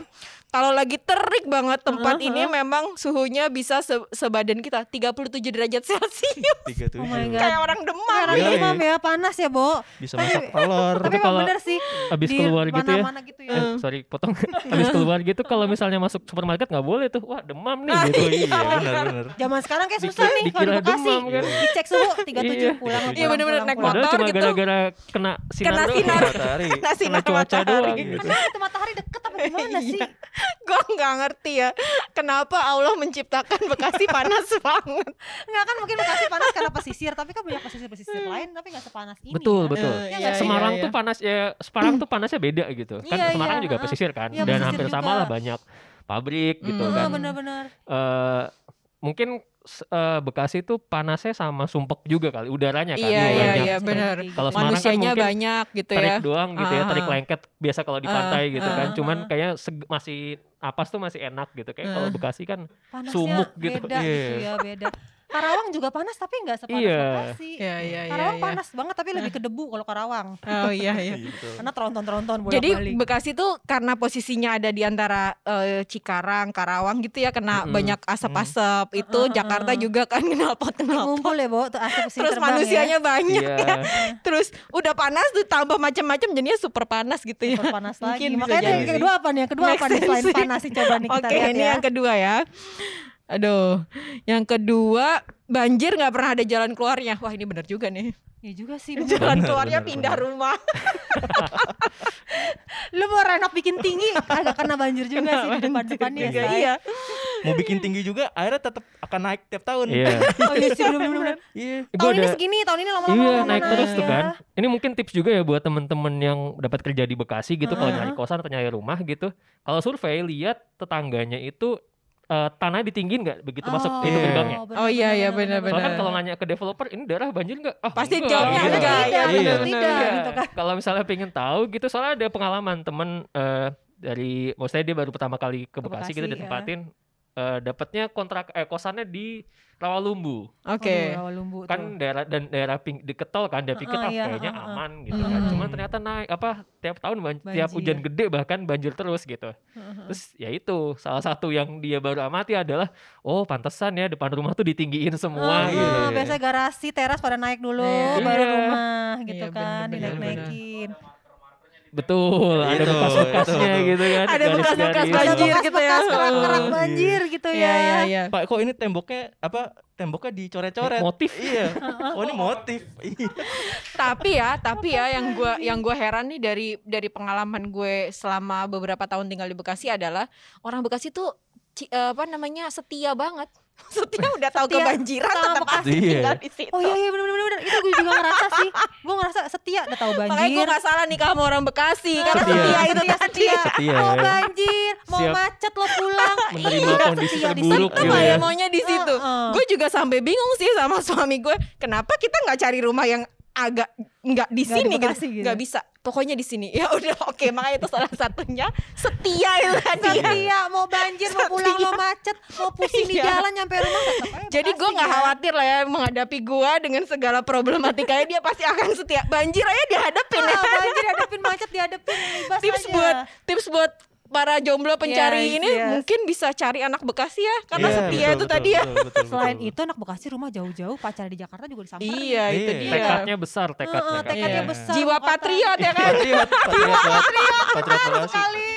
Speaker 3: Kalau lagi terik banget tempat ini memang suhunya bisa se- sebadan kita 37 derajat Celcius.
Speaker 4: ah, tiga tujuh
Speaker 2: my God.
Speaker 3: Kayak orang demam.
Speaker 2: Karena
Speaker 4: Iya,
Speaker 2: demam ya panas ya, Bo.
Speaker 4: bisa masak
Speaker 2: Tapi-
Speaker 4: telur
Speaker 2: Tapi
Speaker 1: Tapi kalau
Speaker 2: emang bener sih.
Speaker 1: Abis
Speaker 2: di
Speaker 1: keluar gitu ya.
Speaker 2: mana-mana gitu ya.
Speaker 3: Hmm.
Speaker 1: Eh, sorry potong. Abis keluar gitu kalau misalnya masuk supermarket nggak boleh tuh. Wah demam nih gitu.
Speaker 4: iya benar benar
Speaker 2: Zaman sekarang kayak
Speaker 1: Dikira-
Speaker 2: susah nih kalau di
Speaker 1: dikira
Speaker 2: Bekasi.
Speaker 1: demam kan.
Speaker 2: Dicek suhu 37
Speaker 1: Iya.
Speaker 2: pulang.
Speaker 4: Iya,
Speaker 2: pulang,
Speaker 3: bener-bener
Speaker 2: pulang,
Speaker 3: naik
Speaker 2: pulang.
Speaker 1: Padahal cuma
Speaker 3: Motor gitu.
Speaker 1: gara-gara kena sinar.
Speaker 3: Kena
Speaker 1: doang.
Speaker 3: sinar.
Speaker 4: matahari
Speaker 3: Kena
Speaker 4: kena
Speaker 3: sinar
Speaker 4: cuaca doang
Speaker 3: matahari. Iya,
Speaker 4: gitu
Speaker 2: Kenapa Kan itu matahari deket apa
Speaker 1: Iya.
Speaker 2: gimana sih?
Speaker 3: Gue nggak ngerti ya kenapa Allah menciptakan Bekasi panas banget.
Speaker 2: Enggak kan mungkin Bekasi panas karena pesisir, tapi kan banyak pesisir-pesisir lain tapi enggak sepanas ini.
Speaker 1: Betul
Speaker 2: kan?
Speaker 1: betul.
Speaker 2: Iya,
Speaker 3: Iya,
Speaker 1: Semarang
Speaker 3: iya,
Speaker 1: tuh panas ya Semarang tuh panasnya beda gitu. Kan
Speaker 2: Iya,
Speaker 1: Semarang
Speaker 2: iya,
Speaker 1: juga
Speaker 2: ha-ha.
Speaker 1: pesisir kan
Speaker 2: Iya,
Speaker 1: dan
Speaker 2: pesisir
Speaker 1: hampir sama
Speaker 2: juga.
Speaker 1: lah banyak pabrik gitu
Speaker 3: Hmm.
Speaker 2: Ah,
Speaker 1: kan.
Speaker 2: benar-benar.
Speaker 1: Eh mungkin s- eh, Bekasi tuh panasnya sama sumpek juga kali udaranya kan.
Speaker 3: Iya, iya,
Speaker 1: banyak.
Speaker 3: iya, benar.
Speaker 1: Kalau Semarang kan
Speaker 3: Manusianya
Speaker 1: mungkin
Speaker 3: banyak gitu ya.
Speaker 1: Tarik doang gitu ya, tarik
Speaker 3: Ah.
Speaker 1: lengket biasa kalau di
Speaker 3: Ah,
Speaker 1: pantai gitu kan.
Speaker 2: ah,
Speaker 1: Cuman
Speaker 2: ah.
Speaker 1: kayaknya seg- masih napas tuh masih enak gitu. Kayak kalau
Speaker 3: Ah.
Speaker 1: Bekasi kan
Speaker 2: panasnya
Speaker 1: sumuk gitu.
Speaker 2: beda gitu
Speaker 4: Iya.
Speaker 2: ya beda Karawang juga panas tapi nggak sepanas
Speaker 1: Iya.
Speaker 2: Bekasi
Speaker 3: Iya, iya, iya.
Speaker 2: Karawang
Speaker 3: iya.
Speaker 2: panas banget tapi lebih ke debu kalau Karawang
Speaker 3: Oh iya iya.
Speaker 4: Iya, betul.
Speaker 2: karena tronton-tronton bolak
Speaker 3: Jadi Bekasi tuh karena posisinya ada di antara eh, Cikarang, Karawang gitu ya kena
Speaker 1: Mm-mm. Mm.
Speaker 3: banyak asap-asap itu
Speaker 2: Heeh, heeh,
Speaker 3: Jakarta
Speaker 2: heeh.
Speaker 3: juga kan knalpot knalpot.
Speaker 2: ngumpul ya bo tuh asap kesini
Speaker 3: Terus
Speaker 2: terbang ya.
Speaker 3: manusianya banyak
Speaker 1: iya.
Speaker 3: ya. Terus udah panas tuh tambah macam-macam jadinya super panas gitu
Speaker 2: ya.
Speaker 3: ya.
Speaker 2: Super panas lagi
Speaker 3: Mungkin bisa
Speaker 2: makanya
Speaker 4: jadi
Speaker 2: yang
Speaker 4: sih.
Speaker 2: kedua apa nih yang kedua
Speaker 3: Make
Speaker 2: apa nih selain
Speaker 3: sense sih.
Speaker 2: panas sih coba nih kita
Speaker 3: Oke,
Speaker 2: lihat
Speaker 3: ini
Speaker 2: ya
Speaker 3: yang kedua ya. Aduh, yang kedua banjir nggak pernah ada jalan keluarnya. Wah ini bener juga nih.
Speaker 2: ya juga sih Bo.
Speaker 3: Jalan
Speaker 4: Bener,
Speaker 3: keluarnya
Speaker 4: bener,
Speaker 3: pindah
Speaker 4: bener.
Speaker 3: rumah.
Speaker 2: lu mau renok bikin tinggi agak kena banjir juga
Speaker 3: Kena
Speaker 2: sih di depan-depannya ya
Speaker 4: juga,
Speaker 2: say.
Speaker 3: iya.
Speaker 4: mau bikin tinggi juga airnya tetap akan naik tiap tahun
Speaker 1: Iya.
Speaker 2: oh iya sih bener-bener
Speaker 4: iya
Speaker 1: Gua
Speaker 2: tahun ini
Speaker 1: ada-
Speaker 2: segini tahun ini lama-lama
Speaker 1: Iya
Speaker 2: lama-lama
Speaker 1: naik terus tuh
Speaker 2: ya.
Speaker 1: kan. Ini mungkin tips juga ya buat temen-temen yang dapat kerja di Bekasi gitu kalau nyari kosan atau nyari rumah gitu. Kalau survei lihat tetangganya itu eh, tanah ditinggin nggak begitu masuk
Speaker 2: Oh,
Speaker 1: pintu
Speaker 4: Iya.
Speaker 1: gerbangnya.
Speaker 2: bener-bener,
Speaker 3: Oh, iya, iya,
Speaker 2: bener-bener.
Speaker 1: Soalnya kan
Speaker 3: benar.
Speaker 1: kalau nanya ke developer ini daerah banjir nggak? Ah,
Speaker 3: Pasti
Speaker 1: enggak,
Speaker 3: jawabnya
Speaker 1: gitu.
Speaker 3: enggak,
Speaker 2: Iya,
Speaker 3: ya,
Speaker 2: iya,
Speaker 3: benar,
Speaker 2: tidak
Speaker 3: iya.
Speaker 2: gitu kan.
Speaker 1: Kalau misalnya pengen tahu gitu soalnya ada pengalaman temen eh, dari maksudnya dia baru pertama kali ke Bekasi,
Speaker 2: Bekasi, iya.
Speaker 1: gitu
Speaker 2: ya.
Speaker 1: ditempatin eh, dapatnya kontrak eh, kosannya di Rawalumbu.
Speaker 3: Oke.
Speaker 2: Aduh, Rawalumbu tuh.
Speaker 1: kan daerah dan daerah ping, deket tol kan dia
Speaker 2: Heeh,
Speaker 1: pikir ah,
Speaker 2: iya,
Speaker 1: kayaknya
Speaker 2: heeh,
Speaker 1: aman gitu kan
Speaker 3: Mm.
Speaker 1: cuman ternyata naik apa tiap tahun ban- tiap
Speaker 2: Banjir.
Speaker 1: hujan gede bahkan banjir terus gitu terus ya itu salah satu yang dia baru amati adalah oh pantesan ya depan rumah tuh ditinggiin semua
Speaker 2: Ah,
Speaker 1: gitu
Speaker 4: iya.
Speaker 2: biasanya garasi, teras pada naik dulu,
Speaker 3: Iya.
Speaker 2: baru
Speaker 1: Iya.
Speaker 2: rumah gitu
Speaker 3: Iya,
Speaker 2: kan,
Speaker 3: bener-bener.
Speaker 2: dinaik-naikin.
Speaker 1: betul ada
Speaker 4: Itu,
Speaker 1: bekas-bekasnya
Speaker 4: itu, Iya. itu.
Speaker 1: gitu kan
Speaker 3: Ada bekas-bekas
Speaker 1: garis-garis.
Speaker 2: Ada
Speaker 3: banjir gitu ya.
Speaker 2: bekas-bekas kerak-kerak
Speaker 4: Iya.
Speaker 2: banjir gitu ya.
Speaker 3: Iya, iya,
Speaker 4: pak kok ini temboknya apa temboknya dicoret-coret
Speaker 1: Motif.
Speaker 4: iya oh ini motif Iya.
Speaker 3: tapi ya tapi ya yang gue yang gue heran nih dari dari pengalaman gue selama beberapa tahun tinggal di Bekasi adalah orang Bekasi tuh ci- eh, apa namanya setia banget setia udah tahu
Speaker 2: Setia
Speaker 3: kebanjiran
Speaker 2: sama
Speaker 3: tetap
Speaker 2: Bekasi.
Speaker 3: asik ya kan? tinggal di situ
Speaker 2: Oh iya iya bener bener bener. itu gue juga ngerasa sih, gue ngerasa setia udah tahu
Speaker 3: makanya gue
Speaker 2: banjir.
Speaker 3: gak salah nikah sama orang Bekasi
Speaker 2: Nah,
Speaker 3: karena
Speaker 2: iya.
Speaker 4: Setia.
Speaker 3: setia, itu
Speaker 2: setia, ya,
Speaker 3: tadi
Speaker 2: setia.
Speaker 4: Setia
Speaker 2: Mau
Speaker 4: ya.
Speaker 2: banjir, mau
Speaker 1: Siap.
Speaker 2: macet lo pulang.
Speaker 1: menerima
Speaker 2: Iya,
Speaker 1: kondisi
Speaker 2: setia di
Speaker 1: terburuk
Speaker 2: situ.
Speaker 1: gitu
Speaker 3: Apa
Speaker 1: ya.
Speaker 3: ya maunya di situ
Speaker 2: Heeh.
Speaker 3: gue juga sampai bingung sih sama suami gue kenapa kita nggak cari rumah yang agak nggak di
Speaker 2: Nggak di
Speaker 3: sini
Speaker 2: Bekasi
Speaker 3: gitu
Speaker 2: gitu.
Speaker 3: nggak bisa pokoknya di sini ya udah oke makanya itu salah satunya setia itu tadi ya.
Speaker 2: Setia, mau banjir, mau pulang lo macet, mau pusing di
Speaker 3: Iya.
Speaker 2: jalan nyampe rumah. tetap aja
Speaker 3: Jadi gue
Speaker 2: Bekasi,
Speaker 3: nggak
Speaker 2: ya.
Speaker 3: khawatir lah ya menghadapi gue dengan segala problematikanya dia pasti akan setia. Banjir aja dihadapin ya.
Speaker 2: Ah, banjir dihadapin macet dihadapin libas
Speaker 3: Tips
Speaker 2: aja.
Speaker 3: buat tips buat para jomblo pencari
Speaker 2: Yes,
Speaker 3: ini
Speaker 2: yes.
Speaker 3: mungkin bisa cari anak Bekasi ya karena
Speaker 4: Iya,
Speaker 3: setia itu
Speaker 4: betul, betul,
Speaker 3: tadi ya.
Speaker 4: betul, betul, betul,
Speaker 2: Selain
Speaker 4: betul.
Speaker 2: itu anak Bekasi rumah jauh-jauh pacar di Jakarta juga disamperin.
Speaker 3: Iya itu
Speaker 4: Iya.
Speaker 3: dia.
Speaker 1: tekadnya besar tekadnya
Speaker 2: Heeh,
Speaker 1: kan.
Speaker 2: tekadnya
Speaker 3: Iya.
Speaker 2: besar.
Speaker 3: Jiwa
Speaker 2: bukan
Speaker 3: patriot ya kan.
Speaker 4: patriot patriot patriot patriot
Speaker 2: tangan.
Speaker 4: Bekasi.
Speaker 2: sekali.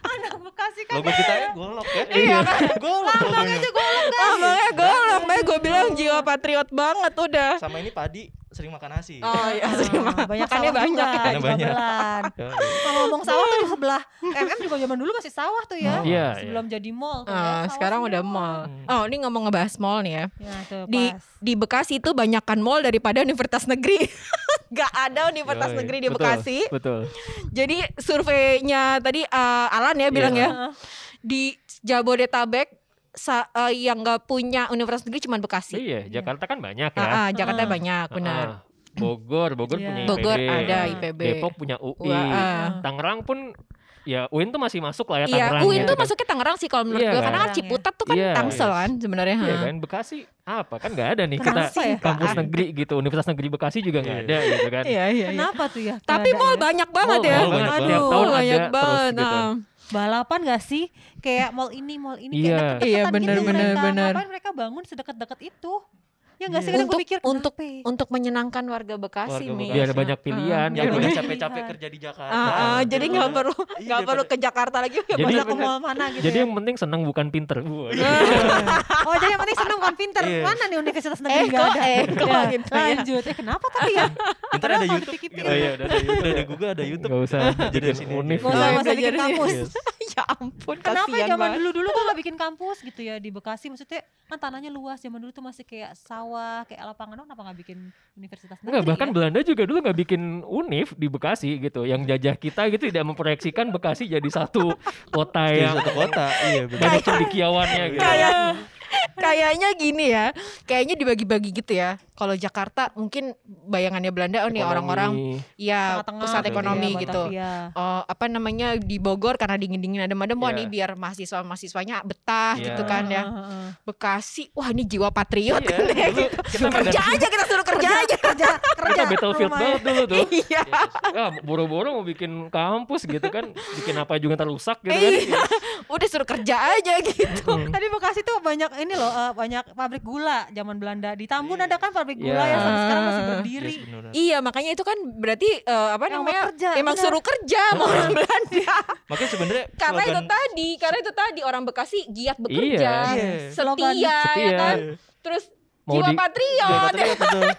Speaker 2: anak Bekasi kan.
Speaker 4: logo kita ya golok ya
Speaker 3: Iya,
Speaker 4: golok logonya.
Speaker 2: Aja golok guys.
Speaker 3: Omongnya
Speaker 4: Iya.
Speaker 3: golok, makanya gue bilang jiwa patriot banget udah.
Speaker 4: sama ini padi sering makan nasi
Speaker 3: Oh iya, terima.
Speaker 2: Ah, banyak
Speaker 3: Makannya
Speaker 2: sawah
Speaker 3: banyak
Speaker 2: juga,
Speaker 3: ya.
Speaker 4: Makannya banyak.
Speaker 2: Jubelan.
Speaker 4: Ya.
Speaker 2: Kalau ngomong sawah tuh di sebelah MM juga zaman dulu masih sawah tuh ya.
Speaker 4: Oh,
Speaker 1: iya,
Speaker 2: Sebelum jadi mall. tuh ya,
Speaker 3: Ah,
Speaker 2: sawah
Speaker 3: sekarang udah
Speaker 2: semua.
Speaker 3: mall. Oh, ini ngomong ngebahas mall nih ya.
Speaker 2: Ya, tuh,
Speaker 3: di
Speaker 2: pas.
Speaker 3: di Bekasi itu banyakkan mall daripada universitas negeri. Gak ada universitas
Speaker 4: Yoi,
Speaker 3: negeri di
Speaker 1: Betul,
Speaker 3: Bekasi.
Speaker 1: betul
Speaker 3: Jadi surveinya tadi eh, Alan ya bilang
Speaker 1: Iya.
Speaker 2: Ah,
Speaker 3: ya di Jabodetabek sa- eh, yang nggak punya universitas negeri cuma Bekasi.
Speaker 1: iya Jakarta kan banyak ya
Speaker 3: Hmm. Ah, ah, Jakarta banyak benar.
Speaker 1: Ah, Bogor, Bogor
Speaker 2: Iya.
Speaker 1: punya IPB.
Speaker 3: Bogor ada
Speaker 2: Ah.
Speaker 3: IPB.
Speaker 1: Depok punya UI.
Speaker 3: Wah, ah.
Speaker 1: Tangerang pun ya UIN tuh masih masuk lah ya
Speaker 3: Iya,
Speaker 1: Tangerang.
Speaker 3: UIN
Speaker 1: gitu
Speaker 3: tuh
Speaker 1: kan.
Speaker 3: masuknya Tangerang sih kalau menurut
Speaker 1: Iya,
Speaker 3: gue, karena kan
Speaker 2: Tangerang, ya.
Speaker 3: Ciputat tuh kan
Speaker 1: Iya,
Speaker 3: Tangsel
Speaker 4: iya.
Speaker 3: kan sebenarnya. ha.
Speaker 1: Iya kan Bekasi apa kan nggak ada nih
Speaker 2: Kenapa
Speaker 1: kita
Speaker 2: ya?
Speaker 1: kampus negeri gitu Universitas Negeri Bekasi juga nggak
Speaker 4: Iya.
Speaker 1: ada gitu kan
Speaker 3: Iya, iya, iya.
Speaker 2: Kenapa tuh ya?
Speaker 3: Tapi
Speaker 2: nggak ada
Speaker 3: mall
Speaker 2: ya?
Speaker 3: banyak banget ya.
Speaker 1: Mall banget,
Speaker 3: Aduh,
Speaker 1: tiap tahun ada
Speaker 3: banyak
Speaker 1: terus
Speaker 3: banget.
Speaker 1: gitu.
Speaker 3: ah.
Speaker 2: balapan gak sih? Kayak mall ini, mall ini
Speaker 1: Iya.
Speaker 2: kayak deket-deketan
Speaker 3: Iya,
Speaker 2: gitu
Speaker 3: bener, bener,
Speaker 2: mereka.
Speaker 3: bener.
Speaker 2: Ngapain mereka bangun sedekat-dekat itu? Ya gak
Speaker 3: Iya.
Speaker 2: sih kadang gue
Speaker 3: Untuk-
Speaker 2: mikir
Speaker 3: untuk-
Speaker 2: kenapa ya?
Speaker 3: Untuk menyenangkan warga Bekasi,
Speaker 4: Warga
Speaker 3: Mi.
Speaker 4: Bekasi.
Speaker 1: Iya ada banyak pilihan ya,
Speaker 3: Ah.
Speaker 4: Yang
Speaker 3: Iya,
Speaker 4: udah
Speaker 1: banyak-
Speaker 2: bener.
Speaker 4: capek-capek kerja di Jakarta.
Speaker 3: Ah, ah, jadi nggak
Speaker 4: Iya,
Speaker 3: perlu
Speaker 4: daripada-
Speaker 3: nggak perlu ke Jakarta lagi ya
Speaker 1: Jadi-
Speaker 3: bisa
Speaker 2: Bisa ke mall mana gitu
Speaker 1: jadi
Speaker 2: ya?
Speaker 1: yang penting senang bukan pinter Wah,
Speaker 2: Oh jadi yang penting seneng bukan pinter
Speaker 4: Iya.
Speaker 2: Mana nih universitas negeri
Speaker 3: eh
Speaker 2: gak
Speaker 3: kok
Speaker 2: ada
Speaker 3: eh kok
Speaker 2: Ya,
Speaker 3: gitu ya.
Speaker 2: Lanjut Eh kenapa tapi ya?
Speaker 4: Ntar
Speaker 2: Padahal
Speaker 4: ada
Speaker 2: kalau
Speaker 4: YouTube.
Speaker 2: dipikir-pikir.
Speaker 4: Oh iya, udah ada YouTube, udah ada Google, ada YouTube.
Speaker 1: nggak usah
Speaker 4: Iya. Jadi
Speaker 1: bikin
Speaker 4: sini aja.
Speaker 1: unif ya.
Speaker 2: Nggak usah,
Speaker 3: Iya,
Speaker 2: nggak usah bikin
Speaker 3: belajar sini.
Speaker 2: kampus
Speaker 4: Yes.
Speaker 3: ya ampun
Speaker 2: Kenapa
Speaker 3: kasihan
Speaker 2: ya zaman
Speaker 3: banget.
Speaker 2: dulu dulu tuh gak bikin kampus gitu ya di Bekasi maksudnya kan tanahnya luas zaman dulu tuh masih kayak sawah kayak lapangan dong kenapa gak bikin universitas negeri
Speaker 3: Iya.
Speaker 1: Enggak, bahkan
Speaker 2: ya?
Speaker 1: Belanda juga dulu nggak bikin univ di Bekasi gitu. Yang jajah kita gitu tidak memproyeksikan Bekasi jadi satu kota
Speaker 4: Jadi
Speaker 1: yang
Speaker 4: satu kota. Iya, benar.
Speaker 1: banyak cendekiawannya gitu.
Speaker 3: Kayak kayaknya gini ya. Kayaknya dibagi-bagi gitu ya. Kalau Jakarta mungkin bayangannya Belanda oh
Speaker 1: Ekonomi.
Speaker 3: nih
Speaker 1: Iya,
Speaker 3: orang-orang ya
Speaker 2: Tengah-tengah
Speaker 3: pusat
Speaker 4: gitu ya,
Speaker 3: ekonomi
Speaker 2: Batavia. Iya.
Speaker 3: gitu. Eh, apa namanya di Bogor karena dingin-dingin ada madem wah
Speaker 1: Iya.
Speaker 3: nih biar mahasiswa-mahasiswanya betah
Speaker 1: Iya.
Speaker 3: gitu kan ya.
Speaker 2: Heeh, heeh.
Speaker 3: Bekasi wah ini jiwa patriot
Speaker 1: Iya,
Speaker 3: ini.
Speaker 1: dulu kita
Speaker 3: kerja aja kita suruh kerja aja.
Speaker 2: kerja
Speaker 1: kita
Speaker 2: kerja
Speaker 1: battlefield
Speaker 2: rumah.
Speaker 1: banget dulu tuh.
Speaker 3: Iya.
Speaker 1: Ya, boro-boro mau bikin kampus gitu kan, bikin apa juga ntar rusak gitu kan.
Speaker 3: Iya. Udah suruh kerja aja
Speaker 2: Iya.
Speaker 3: gitu.
Speaker 1: Hmm.
Speaker 2: Tadi Bekasi tuh banyak ini loh eh, banyak pabrik gula zaman Belanda. Di Tambun
Speaker 4: Iya.
Speaker 2: ada kan pabrik gula
Speaker 1: Iya.
Speaker 2: yang sampai sekarang masih
Speaker 3: Ah.
Speaker 2: berdiri.
Speaker 4: Yes, beneran.
Speaker 3: Iya, makanya itu kan berarti eh, apa
Speaker 2: Yang
Speaker 3: namanya?
Speaker 2: mau kerja,
Speaker 3: emang
Speaker 2: benar.
Speaker 3: suruh kerja mau orang Belanda.
Speaker 4: Makanya sebenarnya
Speaker 3: karena itu
Speaker 4: slogan-
Speaker 3: tadi, karena itu tadi orang Bekasi giat bekerja,
Speaker 2: Kan,
Speaker 4: Iya.
Speaker 3: setia, ya
Speaker 1: Setia.
Speaker 3: kan.
Speaker 4: Iya.
Speaker 3: Terus
Speaker 1: Mau
Speaker 3: jiwa
Speaker 1: di-
Speaker 4: Jiwa
Speaker 3: patriot.
Speaker 4: patriot, betul.
Speaker 3: Udah.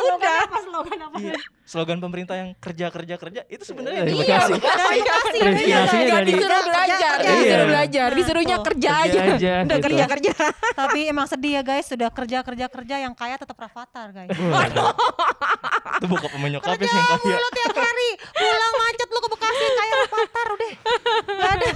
Speaker 2: Slogan apa slogan apa?
Speaker 4: Iya. Slogan pemerintah yang kerja kerja kerja itu sebenarnya
Speaker 1: Iya,
Speaker 4: di
Speaker 3: Iya,
Speaker 1: Bekasi.
Speaker 3: Bekasi.
Speaker 2: Iya.
Speaker 1: Terinspirasinya
Speaker 3: Gak
Speaker 1: dari- Iya.
Speaker 3: disuruh belajar, gak
Speaker 4: Iya.
Speaker 3: disuruh belajar,
Speaker 2: Nah,
Speaker 3: disuruhnya
Speaker 2: tuh.
Speaker 3: kerja
Speaker 1: Kerja
Speaker 3: aja.
Speaker 1: aja,
Speaker 3: Udah
Speaker 1: gitu.
Speaker 3: kerja kerja.
Speaker 2: Iya. Tapi emang sedih ya guys, sudah kerja kerja kerja yang kaya tetap rafatar guys.
Speaker 1: Iya.
Speaker 4: itu buka pemenyok
Speaker 2: Kerja
Speaker 4: apa sih yang kaya.
Speaker 2: mulu tiap hari, pulang macet lu ke Bekasi kaya rafatar udah. Gak ada.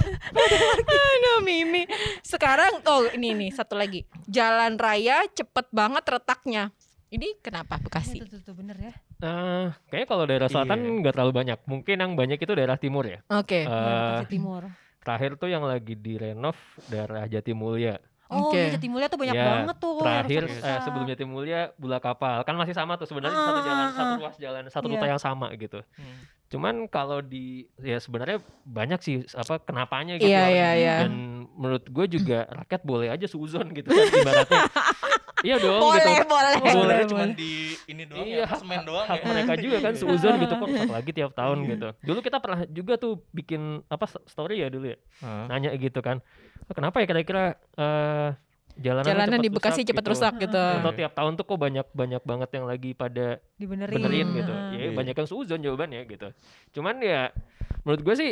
Speaker 3: Aduh Mimi. Sekarang oh ini nih satu lagi. Jalan raya cepet banget retaknya. Ini kenapa Bekasi?
Speaker 2: Itu tuh, tuh bener ya.
Speaker 1: Nah, kayaknya kalau daerah selatan
Speaker 4: Iya.
Speaker 1: nggak terlalu banyak. Mungkin yang banyak itu daerah timur ya.
Speaker 3: Oke.
Speaker 2: Bener,
Speaker 1: Eh,
Speaker 2: Iya, Bekasi Timur.
Speaker 1: terakhir tuh yang lagi direnov daerah Jatimulya.
Speaker 2: Oh,
Speaker 3: oke.
Speaker 2: okay. Jatimulya tuh banyak
Speaker 1: Iya,
Speaker 2: banget tuh. yang
Speaker 1: terakhir eh,
Speaker 2: rusak-rusak.
Speaker 1: sebelum Jatimulya Bula Kapal kan masih sama tuh sebenarnya satu
Speaker 2: Ah,
Speaker 1: jalan
Speaker 2: ah,
Speaker 1: satu
Speaker 2: ah.
Speaker 1: ruas jalan satu
Speaker 2: Iya.
Speaker 1: rute yang sama gitu.
Speaker 4: Hmm.
Speaker 1: Cuman kalau di ya sebenarnya banyak sih apa kenapanya gitu.
Speaker 3: Iya
Speaker 1: Orang-
Speaker 3: iya iya.
Speaker 1: Dan menurut gue juga rakyat boleh aja suzon gitu kan ibaratnya. iya dong gitu.
Speaker 3: Boleh boleh.
Speaker 4: Boleh cuma di ini doang
Speaker 1: Iya,
Speaker 4: ya, semen doang
Speaker 1: hak
Speaker 4: ya.
Speaker 1: mereka juga
Speaker 3: Iya.
Speaker 1: kan seuzon gitu kok rusak lagi tiap tahun gitu. Dulu kita pernah juga tuh bikin apa story ya dulu ya.
Speaker 4: Hah?
Speaker 1: Nanya gitu kan. "Ah, Kenapa ya kira-kira eh jalanan,
Speaker 3: Jalanan
Speaker 1: cepet
Speaker 3: di Bekasi
Speaker 1: rusak
Speaker 3: cepet
Speaker 1: gitu?"
Speaker 3: rusak gitu.
Speaker 1: Atau tiap tahun tuh kok banyak banyak banget yang lagi pada
Speaker 2: dibenerin, Ah,
Speaker 1: benerin
Speaker 3: Ring.
Speaker 1: gitu.
Speaker 2: Heeh.
Speaker 1: Ya
Speaker 4: Iya.
Speaker 1: banyak yang seuzon jawabannya gitu. Cuman ya menurut gue sih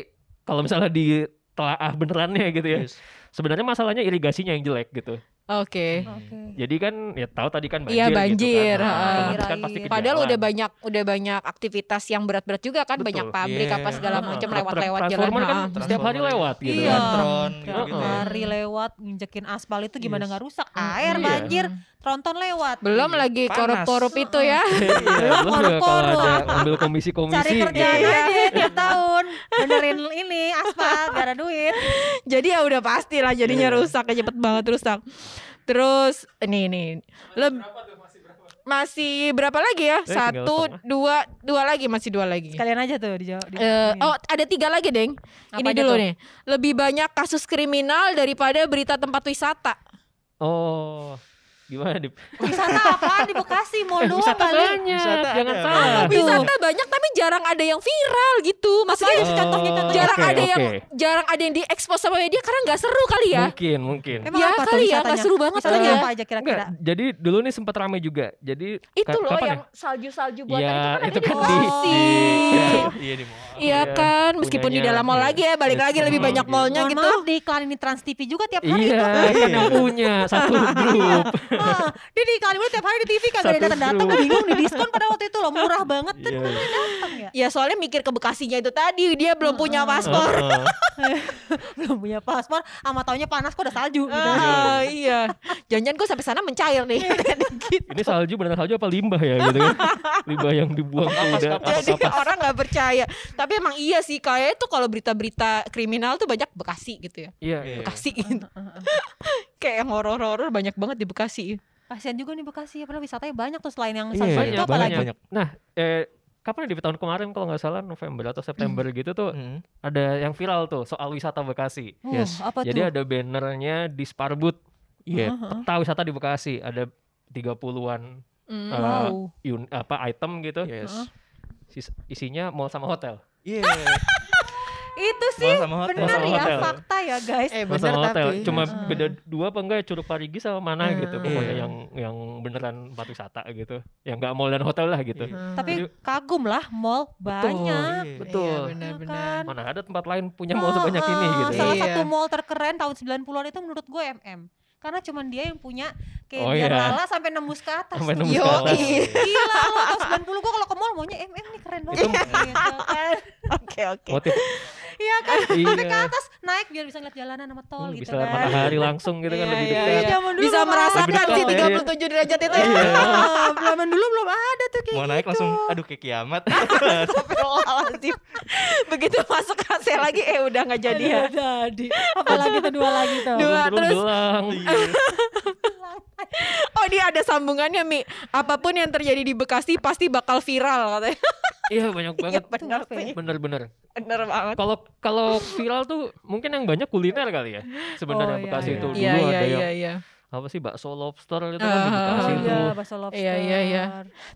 Speaker 1: kalau misalnya di telaah benerannya gitu ya.
Speaker 3: Iya.
Speaker 4: Yes.
Speaker 1: Sebenarnya masalahnya irigasinya yang jelek gitu.
Speaker 3: Oke.
Speaker 2: Oke.
Speaker 1: Jadi kan ya tahu tadi kan banjir
Speaker 3: Iya, banjir,
Speaker 1: gitu kan.
Speaker 3: heeh.
Speaker 1: otomatis kan pasti ke
Speaker 3: Padahal
Speaker 1: jalan.
Speaker 3: udah banyak udah banyak aktivitas yang berat-berat juga kan
Speaker 1: Betul.
Speaker 3: banyak pabrik
Speaker 4: Iya.
Speaker 3: apa segala
Speaker 1: Heeh,
Speaker 3: macam
Speaker 1: truk-
Speaker 3: lewat-lewat
Speaker 1: truk
Speaker 3: jalan.
Speaker 1: transformer kan
Speaker 3: heeh.
Speaker 1: setiap hari
Speaker 4: Transformer.
Speaker 1: lewat gitu
Speaker 2: Iya.
Speaker 1: kan.
Speaker 4: Tron
Speaker 2: Tiap
Speaker 4: gitu-gitu ya.
Speaker 2: hari lewat nginjekin aspal itu gimana
Speaker 4: Yes.
Speaker 2: nggak rusak air
Speaker 1: Iya.
Speaker 2: banjir tronton lewat
Speaker 3: Ah. Belum lagi
Speaker 4: Panas.
Speaker 3: korup-korup itu ya.
Speaker 1: Iya, belum
Speaker 2: korup-korup.
Speaker 1: juga kalau ada ambil komisi-komisi
Speaker 2: cari kerjaan
Speaker 1: gitu.
Speaker 2: aja tiap tahun benerin ini aspal gak ada duit
Speaker 3: Jadi ya udah pasti lah jadinya
Speaker 4: Iya.
Speaker 3: rusak ya cepet banget rusak. Terus ini nih leb- masih berapa lagi
Speaker 1: Eh,
Speaker 3: ya?
Speaker 1: tinggal
Speaker 3: Satu,
Speaker 1: setengah.
Speaker 3: dua, dua lagi masih dua lagi.
Speaker 2: kalian aja tuh dijawab di
Speaker 3: Eh,
Speaker 1: Iya.
Speaker 2: ini.
Speaker 3: oh ada tiga lagi deng.
Speaker 2: Apa
Speaker 3: ini
Speaker 2: aja
Speaker 3: dulu
Speaker 2: tuh?
Speaker 3: nih. Lebih banyak kasus kriminal daripada berita tempat wisata.
Speaker 1: Oh. Gimana Dip?
Speaker 2: wisata apaan di Bekasi mall
Speaker 1: Eh,
Speaker 2: doang
Speaker 1: wisata
Speaker 2: kali
Speaker 1: banyak,
Speaker 4: Wisata
Speaker 1: jangan
Speaker 4: ada.
Speaker 1: salah.
Speaker 2: Aduh.
Speaker 3: Wisata banyak tapi jarang ada yang viral gitu. Maksudnya
Speaker 2: Apaan sih contohnya contohnya
Speaker 3: jarang
Speaker 1: Oh, Oke,
Speaker 3: ada yang
Speaker 1: oke.
Speaker 3: jarang ada yang diekspos sama media karena nggak seru kali ya.
Speaker 1: Mungkin, mungkin.
Speaker 2: emang
Speaker 3: Ya
Speaker 2: apa tuh
Speaker 3: kali ya,
Speaker 2: wisatanya
Speaker 3: nggak seru banget
Speaker 2: wisatanya
Speaker 1: kali ya.
Speaker 2: apa aja
Speaker 1: Enggak,
Speaker 2: kira-kira
Speaker 1: jadi dulu nih sempat ramai juga. Jadi
Speaker 3: Itu
Speaker 1: ka-
Speaker 3: loh
Speaker 1: kapan
Speaker 3: yang
Speaker 1: ya?
Speaker 3: salju-salju buatan
Speaker 1: Iya,
Speaker 3: itu
Speaker 1: itu
Speaker 3: kan
Speaker 1: kan
Speaker 3: ada
Speaker 1: di,
Speaker 3: di
Speaker 1: di
Speaker 3: Bekasi.
Speaker 1: iya.
Speaker 4: Iya di mall.
Speaker 3: Iya
Speaker 1: Iya,
Speaker 3: kan, meskipun di
Speaker 1: punyanya,
Speaker 3: dalam mall
Speaker 1: iya.
Speaker 3: lagi ya, balik
Speaker 1: Iya,
Speaker 3: lagi lebih
Speaker 1: semua
Speaker 3: banyak
Speaker 1: gitu.
Speaker 3: mallnya
Speaker 2: Mohon
Speaker 3: gitu.
Speaker 2: maaf di iklan ini Trans TV juga tiap hari
Speaker 1: Iya, kan yang punya satu grup.
Speaker 2: Ah, dia di Kalimantan tiap hari di TV kagak
Speaker 1: Satu
Speaker 2: ada datang datang
Speaker 1: kru.
Speaker 2: gue bingung di diskon pada waktu itu loh murah banget dan
Speaker 1: Iya.
Speaker 2: datang ya
Speaker 3: Ya soalnya mikir ke Bekasinya itu tadi dia belum punya
Speaker 2: Heeh.
Speaker 3: paspor.
Speaker 4: Heeh.
Speaker 2: belum punya paspor sama taunya panas kok udah salju gitu.
Speaker 3: Ah, iya. Jangan-jangan gue sampai sana mencair nih. gitu.
Speaker 1: Ini salju beneran salju apa limbah ya gitu kan? limbah yang dibuang ke
Speaker 4: Kapas,
Speaker 1: udara.
Speaker 4: kapas.
Speaker 1: Kapas,
Speaker 3: Jadi
Speaker 1: kapas.
Speaker 3: orang nggak percaya. Tapi emang iya sih kayaknya tuh kalau berita-berita kriminal tuh banyak Bekasi gitu ya.
Speaker 1: Iya.
Speaker 4: Iya.
Speaker 1: iya.
Speaker 3: Bekasi gitu. Kayak yang horor-horor banyak banget di Bekasi.
Speaker 2: kasihan juga nih Bekasi ya padahal wisatanya banyak tuh selain yang
Speaker 4: Iya,
Speaker 2: salju
Speaker 1: banyak,
Speaker 2: itu
Speaker 1: banyak,
Speaker 2: apa lagi
Speaker 4: banyak.
Speaker 1: Eh, kapan ya, di tahun kemarin kalau nggak salah November atau September gitu tuh
Speaker 4: Heeh.
Speaker 1: ada yang viral tuh soal wisata Bekasi.
Speaker 2: Uh,
Speaker 4: Yes.
Speaker 2: apa
Speaker 1: Jadi
Speaker 2: tuh
Speaker 1: ada bannernya di Sparbut
Speaker 4: Iya.
Speaker 2: Heeh.
Speaker 1: peta wisata di Bekasi ada 30-an
Speaker 3: Hmm.
Speaker 1: Eh,
Speaker 2: wow
Speaker 1: un- apa item gitu.
Speaker 4: Yes.
Speaker 2: Heeh.
Speaker 1: Sis- Isinya mall sama hotel.
Speaker 4: Iya.
Speaker 2: itu sih
Speaker 4: Mall sama hotel.
Speaker 2: bener
Speaker 1: Sama
Speaker 2: ya
Speaker 1: hotel.
Speaker 2: fakta ya guys
Speaker 3: Eh
Speaker 1: Mall sama hotel. Cuma
Speaker 2: Heeh.
Speaker 1: beda dua apa enggak ya, Curug Parigi sama mana
Speaker 3: Heeh.
Speaker 1: gitu. Pokoknya
Speaker 4: Iya.
Speaker 1: yang yang beneran tempat wisata gitu. Yang enggak mall dan hotel lah gitu.
Speaker 4: Iya.
Speaker 2: tapi
Speaker 1: Jadi-
Speaker 2: kagum lah mall banyak
Speaker 4: Iya.
Speaker 1: Betul.
Speaker 3: Iya,
Speaker 2: Ya
Speaker 3: benar-benar.
Speaker 2: kan?
Speaker 1: Mana ada tempat lain punya Iya, mall
Speaker 2: Ah,
Speaker 1: sebanyak ini
Speaker 2: ah,
Speaker 1: gitu.
Speaker 2: Salah
Speaker 3: Iya.
Speaker 2: satu mall terkeren tahun 90-an itu menurut gue MM. Karena cuman dia yang punya kayak
Speaker 1: Oh,
Speaker 2: dia
Speaker 1: iya.
Speaker 2: lala sampai nembus ke atas.
Speaker 1: Sampai
Speaker 2: tuh.
Speaker 1: nembus
Speaker 3: ke
Speaker 2: Yoi.
Speaker 3: atas.
Speaker 2: Gila lu tahun 90 gue kalau ke mall maunya MM nih keren banget.
Speaker 1: Itu-
Speaker 2: gitu kan.
Speaker 3: Oke oke.
Speaker 1: Motif
Speaker 2: Iya kan sampai ke
Speaker 1: iya.
Speaker 2: atas naik biar bisa ngeliat jalanan sama tol
Speaker 1: Hmm,
Speaker 2: gitu
Speaker 1: bisa lihat
Speaker 2: kan.
Speaker 1: matahari langsung gitu kan
Speaker 3: Iya,
Speaker 1: lebih
Speaker 3: iya,
Speaker 1: dekat.
Speaker 3: iya.
Speaker 2: Zaman dulu
Speaker 3: Bisa
Speaker 2: belum
Speaker 3: merasakan
Speaker 1: ada.
Speaker 3: sih 37 derajat itu ya.
Speaker 1: Iya.
Speaker 2: Ah, Zaman dulu belum ada tuh kayak
Speaker 4: Mau naik langsung aduh kayak kiamat.
Speaker 3: Oh, Astagfirullahaladzim. Begitu masuk AC lagi eh udah nggak jadi ya.
Speaker 2: Jadi gitu. apalagi tuh dua lagi tuh.
Speaker 3: Dua.
Speaker 1: Turun-turun
Speaker 3: terus-
Speaker 1: belang.
Speaker 3: Oh dia ada sambungannya Mi. Apapun yang terjadi di Bekasi pasti bakal viral katanya.
Speaker 1: Iya banyak
Speaker 3: Iya
Speaker 1: banget.
Speaker 3: benar Mi.
Speaker 1: Bener-bener.
Speaker 3: Bener banget.
Speaker 1: Kalau kalau viral tuh mungkin yang banyak kuliner kali ya. Sebenarnya
Speaker 2: Oh, iya,
Speaker 1: Bekasi
Speaker 4: iya.
Speaker 1: itu dulu
Speaker 3: Iya iya
Speaker 1: ada yang
Speaker 3: iya iya.
Speaker 1: apa sih bakso lobster itu kan di
Speaker 3: Ah,
Speaker 1: Bekasi
Speaker 2: Oh
Speaker 1: tuh.
Speaker 2: iya, bakso lobster.
Speaker 3: Iya, iya, iya.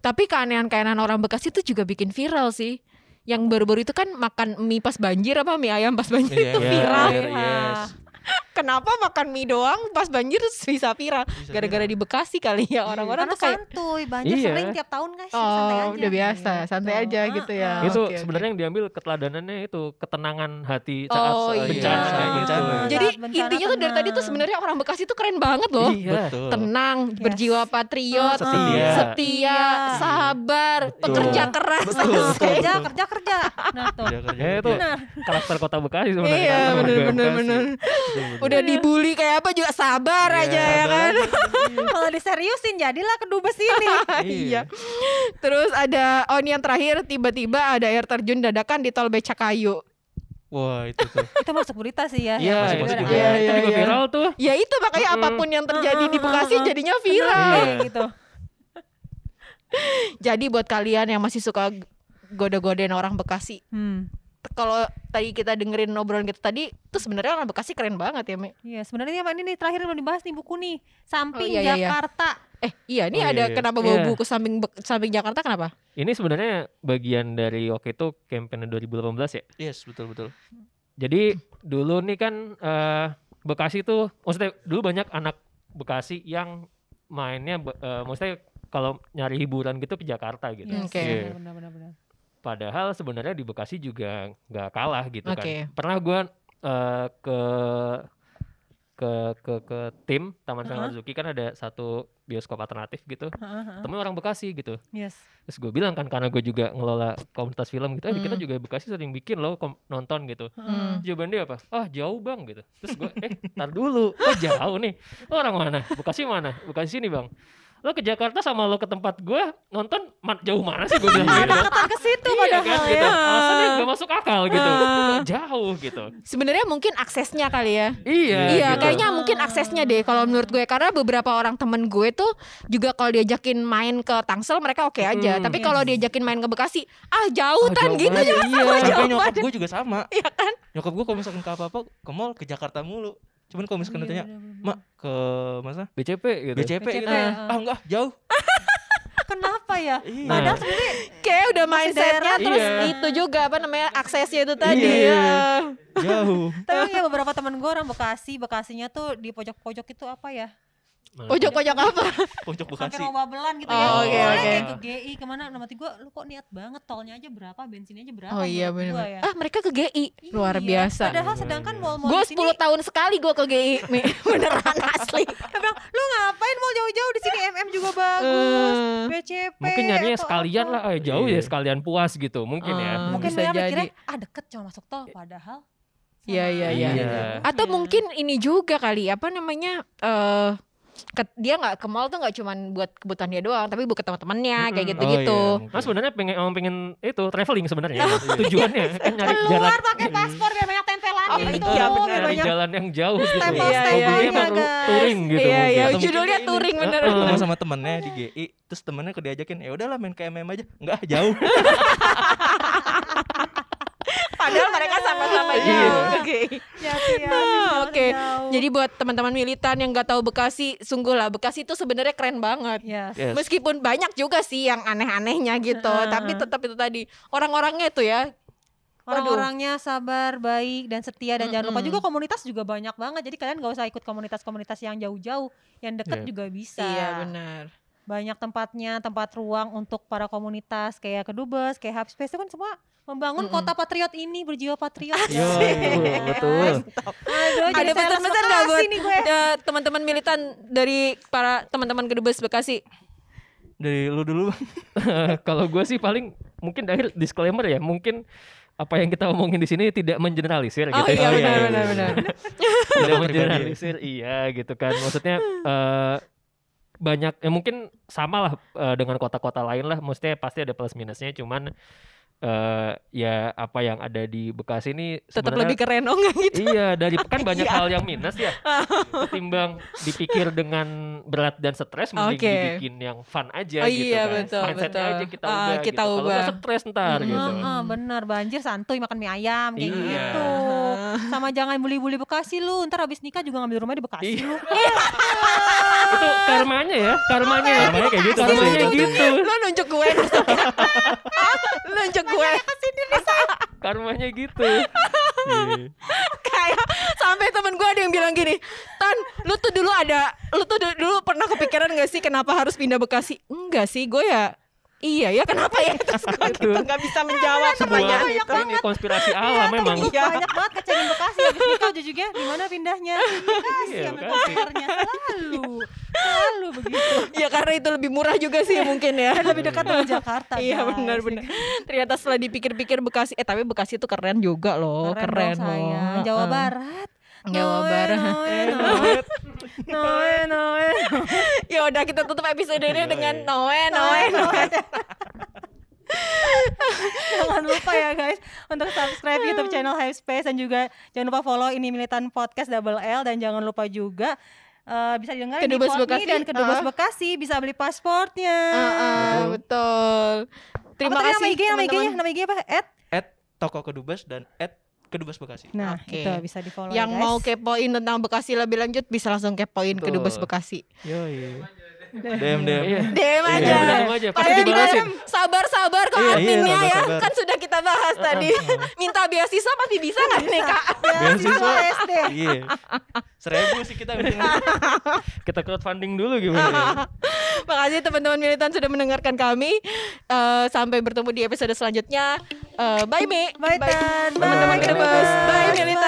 Speaker 3: Tapi keanehan-keanehan orang Bekasi itu juga bikin viral sih. Yang baru-baru itu kan makan mie pas banjir apa mie ayam pas banjir
Speaker 4: Iya,
Speaker 3: itu
Speaker 4: iya,
Speaker 3: viral.
Speaker 4: iya, Yes.
Speaker 3: Kenapa makan mie doang pas banjir terus bisa viral?
Speaker 4: Bisa
Speaker 3: Gara-gara
Speaker 4: viral.
Speaker 3: di Bekasi kali ya orang-orang
Speaker 2: Karena
Speaker 3: tuh kayak
Speaker 2: santuy, banjir
Speaker 1: Iya.
Speaker 2: sering tiap tahun guys, santai
Speaker 3: Oh,
Speaker 2: aja.
Speaker 3: udah biasa, santai aja
Speaker 2: Ah,
Speaker 3: gitu ya.
Speaker 2: ah.
Speaker 1: itu
Speaker 3: Oke, oke.
Speaker 1: sebenarnya yang diambil keteladaanannya itu ketenangan hati saat
Speaker 3: Oh,
Speaker 1: saat
Speaker 4: iya.
Speaker 1: bencana
Speaker 4: Saat
Speaker 1: gitu.
Speaker 4: bencana.
Speaker 1: Jadi,
Speaker 3: Jadi
Speaker 2: Saat bencana
Speaker 3: intinya tuh dari tadi tuh
Speaker 2: tenang.
Speaker 3: sebenarnya orang Bekasi tuh keren banget loh.
Speaker 1: iya.
Speaker 4: Betul.
Speaker 3: Tenang,
Speaker 2: Yes.
Speaker 3: berjiwa patriot,
Speaker 1: Setia.
Speaker 3: setia,
Speaker 2: Iya.
Speaker 3: sabar,
Speaker 4: Betul.
Speaker 3: pekerja keras.
Speaker 4: Betul.
Speaker 2: Ah,
Speaker 4: Betul.
Speaker 2: kerja, kerja, kerja. Nah tuh.
Speaker 4: Iya, kerja,
Speaker 1: Eh,
Speaker 4: kerja.
Speaker 1: itu
Speaker 2: Benar.
Speaker 1: karakter kota Bekasi sebenarnya.
Speaker 3: Iya,
Speaker 1: kan, warga
Speaker 3: bener bener
Speaker 1: Bekasi.
Speaker 3: bener.
Speaker 4: Betul,
Speaker 3: Udah
Speaker 2: Iya.
Speaker 3: dibully kayak apa juga sabar
Speaker 4: Iya,
Speaker 3: aja ya
Speaker 4: sabar
Speaker 3: kan.
Speaker 2: Kalau diseriusin jadilah kedubes ini.
Speaker 4: Iya.
Speaker 3: Terus ada oh ini yang terakhir tiba-tiba ada air terjun dadakan di tol Becakayu.
Speaker 4: Wah, itu tuh.
Speaker 2: Itu masuk berita sih ya.
Speaker 1: Iya,
Speaker 4: Masih
Speaker 1: itu
Speaker 4: masuk
Speaker 1: juga,
Speaker 4: juga.
Speaker 3: Iya,
Speaker 1: itu
Speaker 3: iya,
Speaker 1: juga
Speaker 3: iya.
Speaker 1: viral tuh.
Speaker 3: Ya itu makanya
Speaker 1: Mm-mm.
Speaker 3: apapun yang terjadi di Bekasi jadinya
Speaker 2: Viral
Speaker 1: Iya.
Speaker 4: Iya.
Speaker 3: viral.
Speaker 2: kayak gitu.
Speaker 3: Jadi buat kalian yang masih suka goda-godain orang Bekasi,
Speaker 2: Hmm.
Speaker 3: kalau tadi kita dengerin obrolan kita tadi, tuh sebenarnya orang Bekasi keren banget ya, Mi.
Speaker 2: Iya, sebenarnya Mbak ini nih terakhir belum dibahas nih buku nih. Samping
Speaker 3: iya, iya.
Speaker 2: Jakarta.
Speaker 3: Eh, iya ini
Speaker 4: Oh, iya,
Speaker 3: ada
Speaker 4: iya.
Speaker 3: kenapa bawa
Speaker 1: Iya.
Speaker 3: buku samping Bek- samping Jakarta kenapa?
Speaker 1: Ini sebenarnya bagian dari waktu itu kampanye 2018 ya.
Speaker 4: Yes, betul betul.
Speaker 1: Jadi dulu nih kan eh, Bekasi tuh maksudnya dulu banyak anak Bekasi yang mainnya be- eh, maksudnya kalau nyari hiburan gitu ke Jakarta gitu.
Speaker 2: Yes,
Speaker 3: Oke.
Speaker 2: benar, Benar, benar, benar.
Speaker 1: Padahal sebenarnya di Bekasi juga nggak kalah gitu
Speaker 3: Oke.
Speaker 1: kan. Pernah gua eh, ke ke ke ke tim Taman
Speaker 2: Heeh.
Speaker 1: Sangharzuki kan ada satu bioskop alternatif gitu.
Speaker 2: Heeh, heeh.
Speaker 1: Temen orang Bekasi gitu.
Speaker 2: Yes.
Speaker 1: Terus gue bilang kan karena gue juga ngelola komunitas film gitu, "Eh, kita
Speaker 3: Hmm.
Speaker 1: juga Bekasi sering bikin loh kom- nonton gitu.
Speaker 3: Hmm.
Speaker 2: Heeh.
Speaker 1: Jawaban dia apa? Ah jauh bang gitu. Terus gue eh tar dulu. Oh jauh nih. Lo orang mana? Bekasi mana? Bekasi sini bang. Lo ke Jakarta sama lo ke tempat gue nonton ma- jauh mana sih gue bilang
Speaker 2: Ada
Speaker 1: gitu.
Speaker 2: kata ke situ
Speaker 1: Iya
Speaker 2: padahal
Speaker 1: kan gitu.
Speaker 2: ya.
Speaker 1: Alasannya gak masuk akal gitu.
Speaker 3: Ah.
Speaker 1: Jauh gitu.
Speaker 3: Sebenarnya mungkin aksesnya kali ya.
Speaker 1: Iya.
Speaker 3: Iya,
Speaker 1: gitu.
Speaker 3: kayaknya mungkin aksesnya deh kalau menurut gue karena beberapa orang temen gue tuh juga kalau diajakin main ke Tangsel mereka oke aja,
Speaker 1: Hmm.
Speaker 3: tapi kalau diajakin main ke Bekasi, ah jauh
Speaker 1: Ah,
Speaker 3: tan
Speaker 1: jauh
Speaker 3: gitu
Speaker 1: banget, Iya.
Speaker 3: ya.
Speaker 4: Sampai
Speaker 3: Jawaban.
Speaker 4: nyokap gue juga sama.
Speaker 3: Iya
Speaker 4: kan? Nyokap gue kalau misalkan ke apa-apa ke mall ke Jakarta mulu. Cuman kalau misalkan
Speaker 2: Iya,
Speaker 4: ditanya,
Speaker 2: benar, benar,
Speaker 4: "Mak, ke mana?
Speaker 1: BCP gitu.
Speaker 4: BCP, gitu."
Speaker 2: BCP,
Speaker 4: Ah, enggak, jauh.
Speaker 2: benar. Kenapa ya?
Speaker 4: Iya.
Speaker 1: Nah,
Speaker 2: Padahal sebenarnya
Speaker 3: Kayak udah mindsetnya
Speaker 2: daerah.
Speaker 3: terus
Speaker 1: Iya.
Speaker 3: itu juga apa namanya aksesnya itu tadi.
Speaker 4: Iya.
Speaker 3: ya.
Speaker 4: jauh.
Speaker 2: tapi ya beberapa teman gue orang Bekasi, Bekasinya tuh di pojok-pojok itu apa ya?
Speaker 1: Nah,
Speaker 3: Pojok-pojok apa?
Speaker 4: Pojok
Speaker 2: Sampai
Speaker 4: Bekasi.
Speaker 2: mau babelan gitu
Speaker 3: Oh,
Speaker 2: ya.
Speaker 1: oke,
Speaker 2: Soalnya
Speaker 1: oke.
Speaker 2: kayak ke GI kemana nah mati gue lu kok niat banget tolnya aja berapa, bensinnya aja berapa.
Speaker 3: Oh iya
Speaker 2: menurut gua ya.
Speaker 3: benar. Ah mereka ke GI luar
Speaker 2: Iya,
Speaker 3: biasa.
Speaker 2: Padahal
Speaker 1: Luar
Speaker 2: sedangkan
Speaker 1: biasa.
Speaker 2: mall-mall
Speaker 3: Gue
Speaker 2: di sini
Speaker 3: 10 tahun sekali gue ke GI Mi. beneran asli.
Speaker 2: Dia bilang, "Lu ngapain mall jauh-jauh di sini? MM juga bagus."
Speaker 3: Eh,
Speaker 2: BCP.
Speaker 1: mungkin nyarinya
Speaker 2: atau
Speaker 1: sekalian
Speaker 2: apa.
Speaker 1: lah, eh, jauh
Speaker 4: Iya.
Speaker 1: ya sekalian puas gitu mungkin ya.
Speaker 3: Ah.
Speaker 2: Mungkin
Speaker 3: Bisa
Speaker 2: dia mikirnya
Speaker 3: jadi.
Speaker 2: ah deket cuma masuk tol padahal.
Speaker 3: Iya,
Speaker 2: sama
Speaker 3: iya,
Speaker 1: iya.
Speaker 2: aja
Speaker 1: Iya.
Speaker 2: jauhnya.
Speaker 3: Atau mungkin ini juga kali apa namanya eh ke- dia nggak ke mall tuh nggak cuman buat kebutuhan dia doang tapi buat teman-temannya kayak
Speaker 1: Mm-mm.
Speaker 3: gitu gitu.
Speaker 4: iya, Oh,
Speaker 1: Nah sebenarnya pengen emang pengen itu traveling sebenarnya tujuannya kan nyari jalan Ah,
Speaker 2: keluar pakai paspor biar banyak tempelannya
Speaker 3: Oh,
Speaker 2: gitu.
Speaker 3: iya,
Speaker 2: biar
Speaker 3: benar.
Speaker 1: nyari
Speaker 2: banyak
Speaker 1: jalan yang jauh gitu.
Speaker 2: Stempel-stempelnya,
Speaker 1: Hobinya emang
Speaker 2: guys.
Speaker 1: touring gitu.
Speaker 3: ya. Iya iya
Speaker 1: mungkin.
Speaker 3: judulnya
Speaker 4: ini.
Speaker 3: touring bener.
Speaker 1: Heeh.
Speaker 4: ketemu sama temennya di GI terus temennya kok diajakin ya udahlah main ke MM aja enggak jauh
Speaker 3: Padahal mereka sama-sama
Speaker 2: Iya.
Speaker 3: jauh ke GI.
Speaker 2: Ya, iya,
Speaker 3: Ah,
Speaker 2: jauh,
Speaker 3: oke.
Speaker 2: jauh.
Speaker 3: Jadi buat teman-teman militan yang nggak tahu Bekasi, sungguhlah Bekasi itu sebenarnya keren banget.
Speaker 2: Yes.
Speaker 1: Iya.
Speaker 4: Yes.
Speaker 3: Meskipun banyak juga sih yang aneh-anehnya gitu,
Speaker 2: Heeh.
Speaker 3: tapi tetap itu tadi orang-orangnya itu ya. Waduh.
Speaker 2: Orang-orangnya sabar, baik, dan setia dan jangan lupa
Speaker 3: Mm-mm.
Speaker 2: juga komunitas juga banyak banget. Jadi kalian gak usah ikut komunitas-komunitas yang jauh-jauh, yang deket
Speaker 4: Iya.
Speaker 2: juga bisa.
Speaker 3: benar.
Speaker 2: Banyak tempatnya, tempat ruang untuk para komunitas kayak kedubes, kayak hub space itu kan semua membangun
Speaker 3: Mm-mm.
Speaker 2: kota patriot ini berjiwa patriot.
Speaker 4: Iya,
Speaker 2: Guys.
Speaker 1: betul.
Speaker 2: Aduh,
Speaker 3: Ada
Speaker 2: jadi sales
Speaker 3: pesan-pesan nggak
Speaker 2: lokasi
Speaker 3: buat
Speaker 2: nih gue.
Speaker 3: eh, teman-teman militan dari para teman-teman kedubes Bekasi?
Speaker 4: dari lu dulu Bang.
Speaker 1: Kalau gue sih paling mungkin dari disclaimer ya mungkin apa yang kita omongin di sini tidak mengeneralisir gitu.
Speaker 3: Oh iya benar
Speaker 4: Oh, iya, iya,
Speaker 3: benar
Speaker 4: iya.
Speaker 3: benar.
Speaker 1: Tidak
Speaker 4: Pendapat pribadi.
Speaker 1: mengeneralisir iya gitu kan maksudnya eh banyak ya mungkin sama lah eh, dengan kota-kota lain lah maksudnya pasti ada plus minusnya cuman eh ya apa yang ada di Bekasi ini
Speaker 3: Tetap
Speaker 1: sebenarnya-
Speaker 3: lebih keren oh nggak gitu.
Speaker 1: iya dari kan banyak
Speaker 3: Iya.
Speaker 1: hal yang minus ya timbang dipikir dengan berat dan stres mending
Speaker 3: Oke.
Speaker 1: dibikin yang fun aja
Speaker 3: Oh
Speaker 1: gitu
Speaker 3: iya,
Speaker 1: kan
Speaker 3: betul,
Speaker 1: mindsetnya
Speaker 3: betul.
Speaker 1: aja kita
Speaker 3: Ah,
Speaker 1: ubah
Speaker 3: kita
Speaker 1: gitu. kalau
Speaker 3: ubah.
Speaker 1: nggak stres ntar
Speaker 3: Mm,
Speaker 1: gitu
Speaker 2: Heeh, bener banjir santuy makan mie ayam kayak
Speaker 1: Iya.
Speaker 2: gitu. Sama jangan bully-bully Bekasi lu. Ntar habis nikah juga ngambil rumah di Bekasi
Speaker 1: Iya.
Speaker 2: lu.
Speaker 1: itu karmanya ya karmanya
Speaker 4: Karmanya kayak gitu.
Speaker 1: karmanya
Speaker 4: Betul, betul.
Speaker 1: gitu
Speaker 3: Lo nunjuk gue. "Ah, Lo nunjuk gue.
Speaker 1: karmanya gitu
Speaker 2: ya.
Speaker 3: kayak sampai temen gue ada yang bilang gini Tan lu tuh dulu ada lu tuh du- dulu pernah kepikiran gak sih kenapa harus pindah Bekasi enggak sih gue ya iya ya kenapa ya terus gue gitu nggak bisa menjawab
Speaker 1: Iya. sebuah
Speaker 3: pertanyaan itu
Speaker 1: ini konspirasi alam memang
Speaker 2: Iya. Banyak banget kecengin Bekasi habis nikah jujurnya di mana pindahnya? Bekasi Iya.
Speaker 1: Iya,
Speaker 2: sama
Speaker 1: Bekasi.
Speaker 2: pacarnya selalu. Selalu begitu.
Speaker 3: ya karena itu lebih murah juga sih mungkin ya
Speaker 2: Iya. Kan Lebih dekat sama Jakarta.
Speaker 3: Iya
Speaker 2: guys.
Speaker 3: benar benar. Ternyata setelah dipikir-pikir Bekasi, eh tapi Bekasi itu keren juga loh, Oh,
Speaker 2: Keren,
Speaker 3: keren,
Speaker 2: dong,
Speaker 3: loh.
Speaker 2: sayang. Jawa
Speaker 3: Heeh.
Speaker 2: Barat.
Speaker 3: Jawa
Speaker 2: Noe,
Speaker 3: Barat.
Speaker 2: noe, noe. Noe, noe.
Speaker 3: Ya udah kita tutup episode ini
Speaker 4: Yoi.
Speaker 2: Iya,
Speaker 3: dengan Noe Noe Noe.
Speaker 2: Jangan lupa ya guys untuk subscribe YouTube channel Hype Space dan juga jangan lupa follow ini Militan Podcast Double L dan jangan lupa juga eh, bisa didengar di
Speaker 3: Kedubes
Speaker 2: Podme
Speaker 3: Bekasi.
Speaker 2: dan Kedubes
Speaker 3: Ah.
Speaker 2: Bekasi bisa beli pasportnya.
Speaker 3: Heeh, betul. Oh, Terima
Speaker 2: apa tadi
Speaker 3: kasih.
Speaker 2: nama IG nama IG
Speaker 3: teman-teman.
Speaker 2: nya nama IG apa? Ed.
Speaker 4: at toko kedubes dan at kedubes Bekasi
Speaker 2: Nah,
Speaker 3: Oke.
Speaker 2: itu bisa di follow
Speaker 3: yang
Speaker 2: ya, guys.
Speaker 3: mau kepoin tentang Bekasi lebih lanjut bisa langsung kepoin ke
Speaker 1: Betul.
Speaker 3: Dubes Bekasi.
Speaker 4: yoi DM DM
Speaker 1: Iya.
Speaker 3: DM
Speaker 1: Iya,
Speaker 3: aja.
Speaker 1: DM aja, pasti ya.
Speaker 3: Kalian
Speaker 1: dibalasin.
Speaker 3: DM, Sabar-sabar ke
Speaker 4: Iya, iya,
Speaker 3: adminnya ya.
Speaker 4: sabar-sabar. Iya.
Speaker 3: Kan sudah kita bahas tadi. Minta beasiswa pasti bisa nggak nih Kak?
Speaker 4: Beasiswa.
Speaker 2: Beasiswa SD.
Speaker 4: iya seribu sih kita
Speaker 1: kita crowdfunding dulu
Speaker 3: Ah,
Speaker 1: gimana ya?
Speaker 3: Makasih teman-teman militan sudah mendengarkan kami. Eh, sampai bertemu di episode selanjutnya. Eh, bye Mi.
Speaker 2: Bye Tan.
Speaker 3: Teman-teman
Speaker 2: Bye,
Speaker 3: kedebes. Bye
Speaker 2: Kedubes.
Speaker 3: militan.